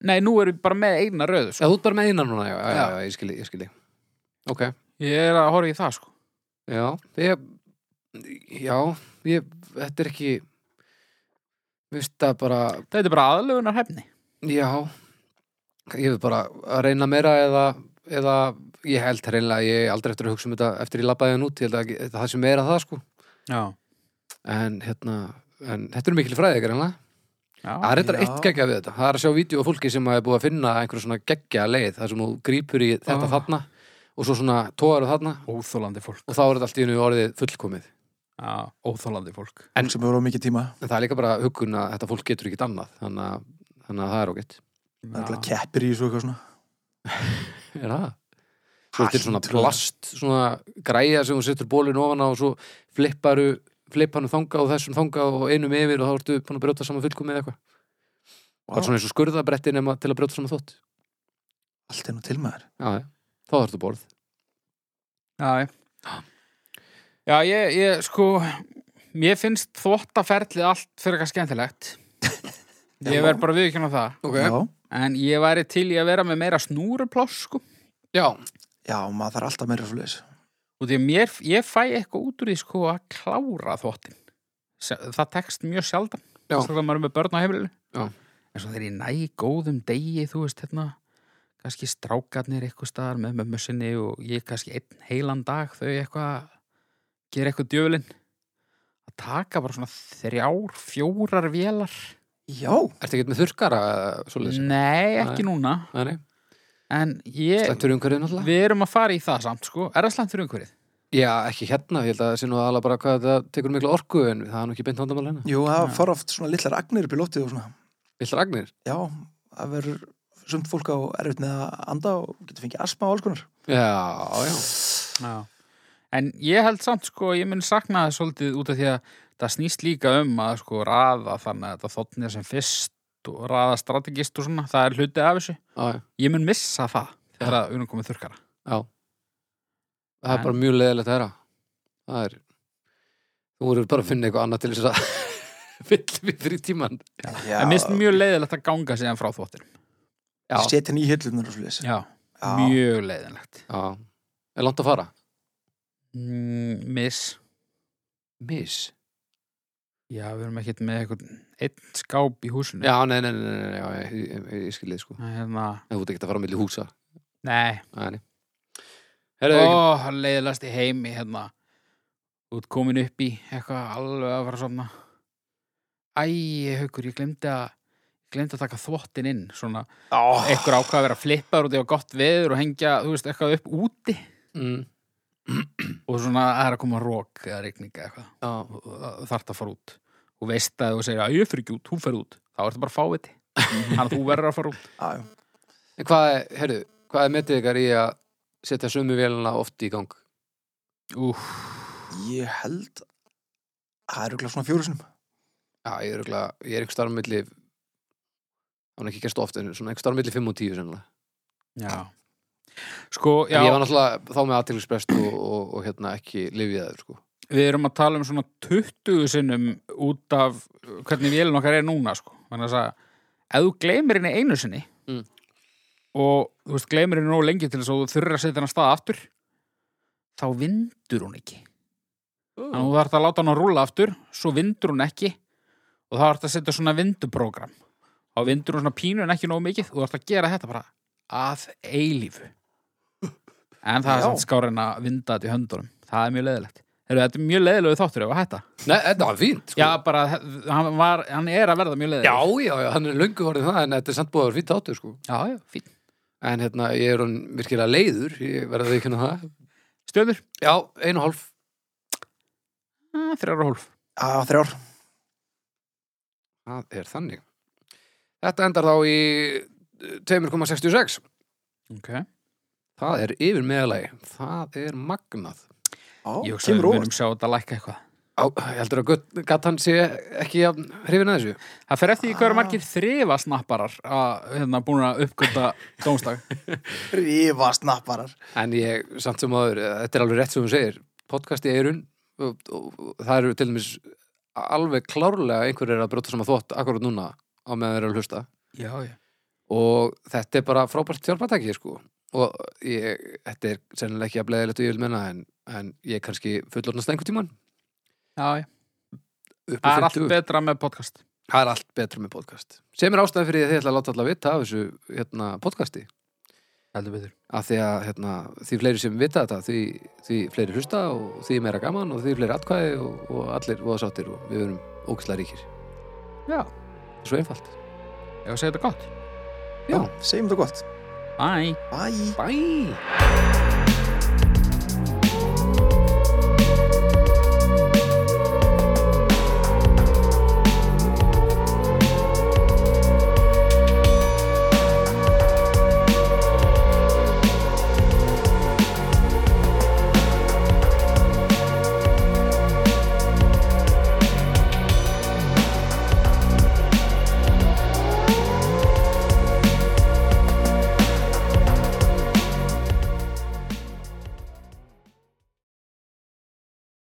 Speaker 2: nei, nú erum við bara með eina röðu
Speaker 3: ja,
Speaker 2: sko.
Speaker 3: þú ert bara með einan núna, já, já, já,
Speaker 2: Já.
Speaker 3: já ég skilji, ég skilji ok,
Speaker 2: ég er að horfa í það sko
Speaker 3: já ég, já, ég þetta er ekki viðst það bara,
Speaker 2: þetta er bara aðlögunar hefni
Speaker 3: já ég vil bara að reyna meira eða, eða ég held reynilega ég eigi aldrei eftir að hugsa um þetta eftir ég labbaði hann út, ég held að ekki- það sé meira það sko
Speaker 2: Já.
Speaker 3: en hérna en þetta eru mikil fræðið greinlega Það er
Speaker 2: Já,
Speaker 3: reyndar
Speaker 1: Já.
Speaker 3: eitt geggja við þetta. Það er að sjá vídeo af fólki sem er búið að finna einhver svona geggja leið þar sem þú grípur í þetta
Speaker 2: Ah.
Speaker 3: þarna og svo svona tógar þú þarna
Speaker 2: óþólandi fólk.
Speaker 3: og þá er þetta allt í hennu orðið fullkomið.
Speaker 2: Já, óþólandi fólk.
Speaker 3: En-
Speaker 1: sem hefur á mikið tíma
Speaker 3: En það er líka bara huggun að þetta fólk getur ekkit annað. Þannig að, þannig að það er ágætt.
Speaker 1: Það er
Speaker 2: Já.
Speaker 1: alltaf keppir í þessu eitthvað svona
Speaker 3: Er það? Svo er til svona
Speaker 1: Hættu.
Speaker 3: plast, svona græja sem þú setur bólinn ofan á og svo flipparu, flippanum þanga og þessum þanga og einum yfir og þá ertu búin að brjóta saman fullkomið eða eitthvað.
Speaker 1: Vá,
Speaker 3: Það er svona eins og skurðabretti nema til að brjóta saman þótt.
Speaker 1: Allt er nú til maður
Speaker 3: Já, já. Þá þarftu borð.
Speaker 2: Já, já ég, ég sko mér finnst þvottaferlið allt fyrir eitthvað skemmtilegt ég verð bara viðkjörna það
Speaker 1: Já,
Speaker 2: en ég væri til í að vera með meira snúrupláss sko
Speaker 3: Já.
Speaker 1: já, maður þarf alltaf meira svo leiðis
Speaker 2: og því að mér, ég fæ eitthvað út úr því sko að klára þvottin það tekst mjög sjaldan
Speaker 3: Já.
Speaker 2: þess að maður er með börn á heimilinu
Speaker 3: Já.
Speaker 2: en svo þegar ég næ góðum degi þú veist hérna kannski strákarnir eitthvað staðar með mömmu sinni og ég kannski einn heilan dag þau eitthvað gera eitthvað djöflin að taka bara svona þrjár, fjórar vélar
Speaker 1: Já,
Speaker 3: Ertu ekkert með þurrkara eh, svo leiðis?
Speaker 2: nei, ekki núna
Speaker 3: Nei, nei.
Speaker 2: en ég,
Speaker 3: Slættur umhverfið náttúrulega?
Speaker 2: við erum að fara í það samt sko, er það slæmt fyrir umhverfið?
Speaker 3: Já, ekki hérna, ég held að það sé nú aðalega bara hvað þetta tekur mikla orku en það er nú ekki beint handamál hérna.
Speaker 1: jú, það
Speaker 2: Já.
Speaker 1: fara oft svona litlar agnir upp í lótið og svona
Speaker 3: Villar Agnir?
Speaker 1: Já, það verður sumt fólk á erfitt með að anda og getur fengið asma og alls konar
Speaker 3: Já, já.
Speaker 2: Já. En ég held samt sko, ég mun sakna það svolítið út af því að það snýst líka um að sko raða þannig að það þóttnir sem fyrst og raða strategist og svona, það er hluti af þessu.
Speaker 3: Já, já.
Speaker 2: Ég mun missa það þegar það unum komið þurrkara.
Speaker 3: Það er
Speaker 2: En-
Speaker 3: bara mjög leðilegt að vera. Það er, þú voru bara að finna eitthvað annað til þess að fylla við fyrir tíman.
Speaker 1: Já,
Speaker 2: En mér finnst mjög leiðilegt að ganga síðan frá þóttinum.
Speaker 3: Já,
Speaker 1: setja ný hillunar og svo leiðis
Speaker 2: Já, mjög leiðilegt.
Speaker 3: já. Er langt að fara?
Speaker 2: Mm, miss.
Speaker 3: Miss.
Speaker 2: Já, við erum ekkert með eitthvað einn skáp í húsinu.
Speaker 3: Já, nei, nei, nei, nei, nei já, ég, ég, ég, ég skil þið sko.
Speaker 2: Hérna,
Speaker 3: En Þú ert ekki að fara á milli húsa.
Speaker 2: nei,
Speaker 3: Nei, nei. Herðu, oh.
Speaker 2: ó, leiðilegast í heimi hérna út komin upp í eitthvað alveg að fara svona æ, haukur, ég glemdi að glemdi að taka þvottin inn svona,
Speaker 1: Já,
Speaker 2: einhver ákvað að vera flippaður og það var gott veður og hengja, þú veist, eitthvað upp úti
Speaker 3: mm,
Speaker 2: og svona það er að koma rók eða rigninga eitthvað
Speaker 3: já,
Speaker 2: og það þarf að fara út og veist að þú segir að ég fyrir ekki út, hún fer út þá ertu bara fáviti, þannig að þú verður að fara út
Speaker 1: já, já.
Speaker 3: En hvað er, herru, hvað er metið ykkar í að setja sömu vélina oft í gang?
Speaker 2: Úf,
Speaker 1: Ég held að það eru glæð svona fjórusinum
Speaker 3: Já, ég er ekki, ég er ekki starf milli hann er ekki gerst oft en svona ekki starf milli 5 og 10 sennilega.
Speaker 2: já sko,
Speaker 3: En
Speaker 2: já,
Speaker 3: ég var náttúrulega þá með aðtilsprest og, og, og hérna ekki lifiðaður sko.
Speaker 2: við erum að tala um svona 20 sinnum út af hvernig vélun okkar er núna sko. þannig að ef þú gleymir henni einu sinni
Speaker 3: Mm.
Speaker 2: og þú veist gleymir henni nógu lengi til þess að þú þurfir að setja henni að staða aftur þá vindur hún ekki þannig að þú þarf að láta hann að rúla aftur svo vindur hún ekki og þá þarf að setja svona vinduprógram þá vindur hún svona pínu en ekki nógu mikið og þú þarf að gera þetta bara að eilífu en það er
Speaker 1: Já.
Speaker 2: samt skár en að vinda þetta í höndunum það er mjög leðilegt Heru, þetta er mjög leðilegu þáttur ef að hætta
Speaker 3: Nei, þetta var fínt sko.
Speaker 2: já bara, hann, var, hann er að verða mjög
Speaker 3: já,
Speaker 2: leðilegu
Speaker 3: já, já, hann er löngu orðið það en þetta er samt búið að vera fínt áttur sko.
Speaker 2: já, já, fín
Speaker 3: En hérna, ég er hann virkilega leiður ég verði ekki hérna það
Speaker 2: stjórnur,
Speaker 3: Já, einu og hálf
Speaker 2: þrjára hólf
Speaker 1: Já, þrjár
Speaker 3: Það er þannig Þetta endar þá í eh, 2,66
Speaker 2: okay.
Speaker 3: Það er yfir meðalagi Það er magnað
Speaker 1: Já,
Speaker 2: ég hugsa að
Speaker 1: kemur
Speaker 2: við
Speaker 1: óvart
Speaker 2: munum sjá þetta lækka eitthvað
Speaker 3: Á, ég heldur að gött- gatt hann sé ekki að hrifin að þessu
Speaker 2: það fer eftir í hverju
Speaker 1: Ah.
Speaker 2: margir þrifa snapparar að hérna búin að uppgönda dómstag
Speaker 1: Rífa snapparar
Speaker 3: En ég, samt sem áður, eh, þetta er alveg rétt sem þú segir, podcast í eirun og, og, og það eru til dæmis alveg klárlega einhver er að brjóta saman þvott akkurat núna á meðan þeir eru að hlusta
Speaker 2: já, já
Speaker 3: og þetta er bara frábært þjálpatæki sko. og ég, þetta er sennilega ekki að bleiðilegt og ég vil menna en, en ég er kannski fullorðnast einhver tíman
Speaker 2: Já, já.
Speaker 3: upp
Speaker 2: Það
Speaker 3: í
Speaker 2: er allt
Speaker 3: 50.
Speaker 2: betra með podcast.
Speaker 3: Það er allt betra með podcast sem er ástæðan fyrir því að þið ætla að láta alla vita af þessu hérna, podcasti
Speaker 2: Heldur betur.
Speaker 3: af því að hérna, því fleiri sem vita þetta því, því fleiri hlusta og því meira gaman og því fleiri atkvæði og, og allir voða sáttir og við verum ógislega ríkir
Speaker 2: Já.
Speaker 3: Svo einfalt.
Speaker 2: Ég var að segja þetta gott.
Speaker 3: Já.
Speaker 1: segjum þetta gott
Speaker 2: Bye!
Speaker 1: Bye
Speaker 3: Bæ!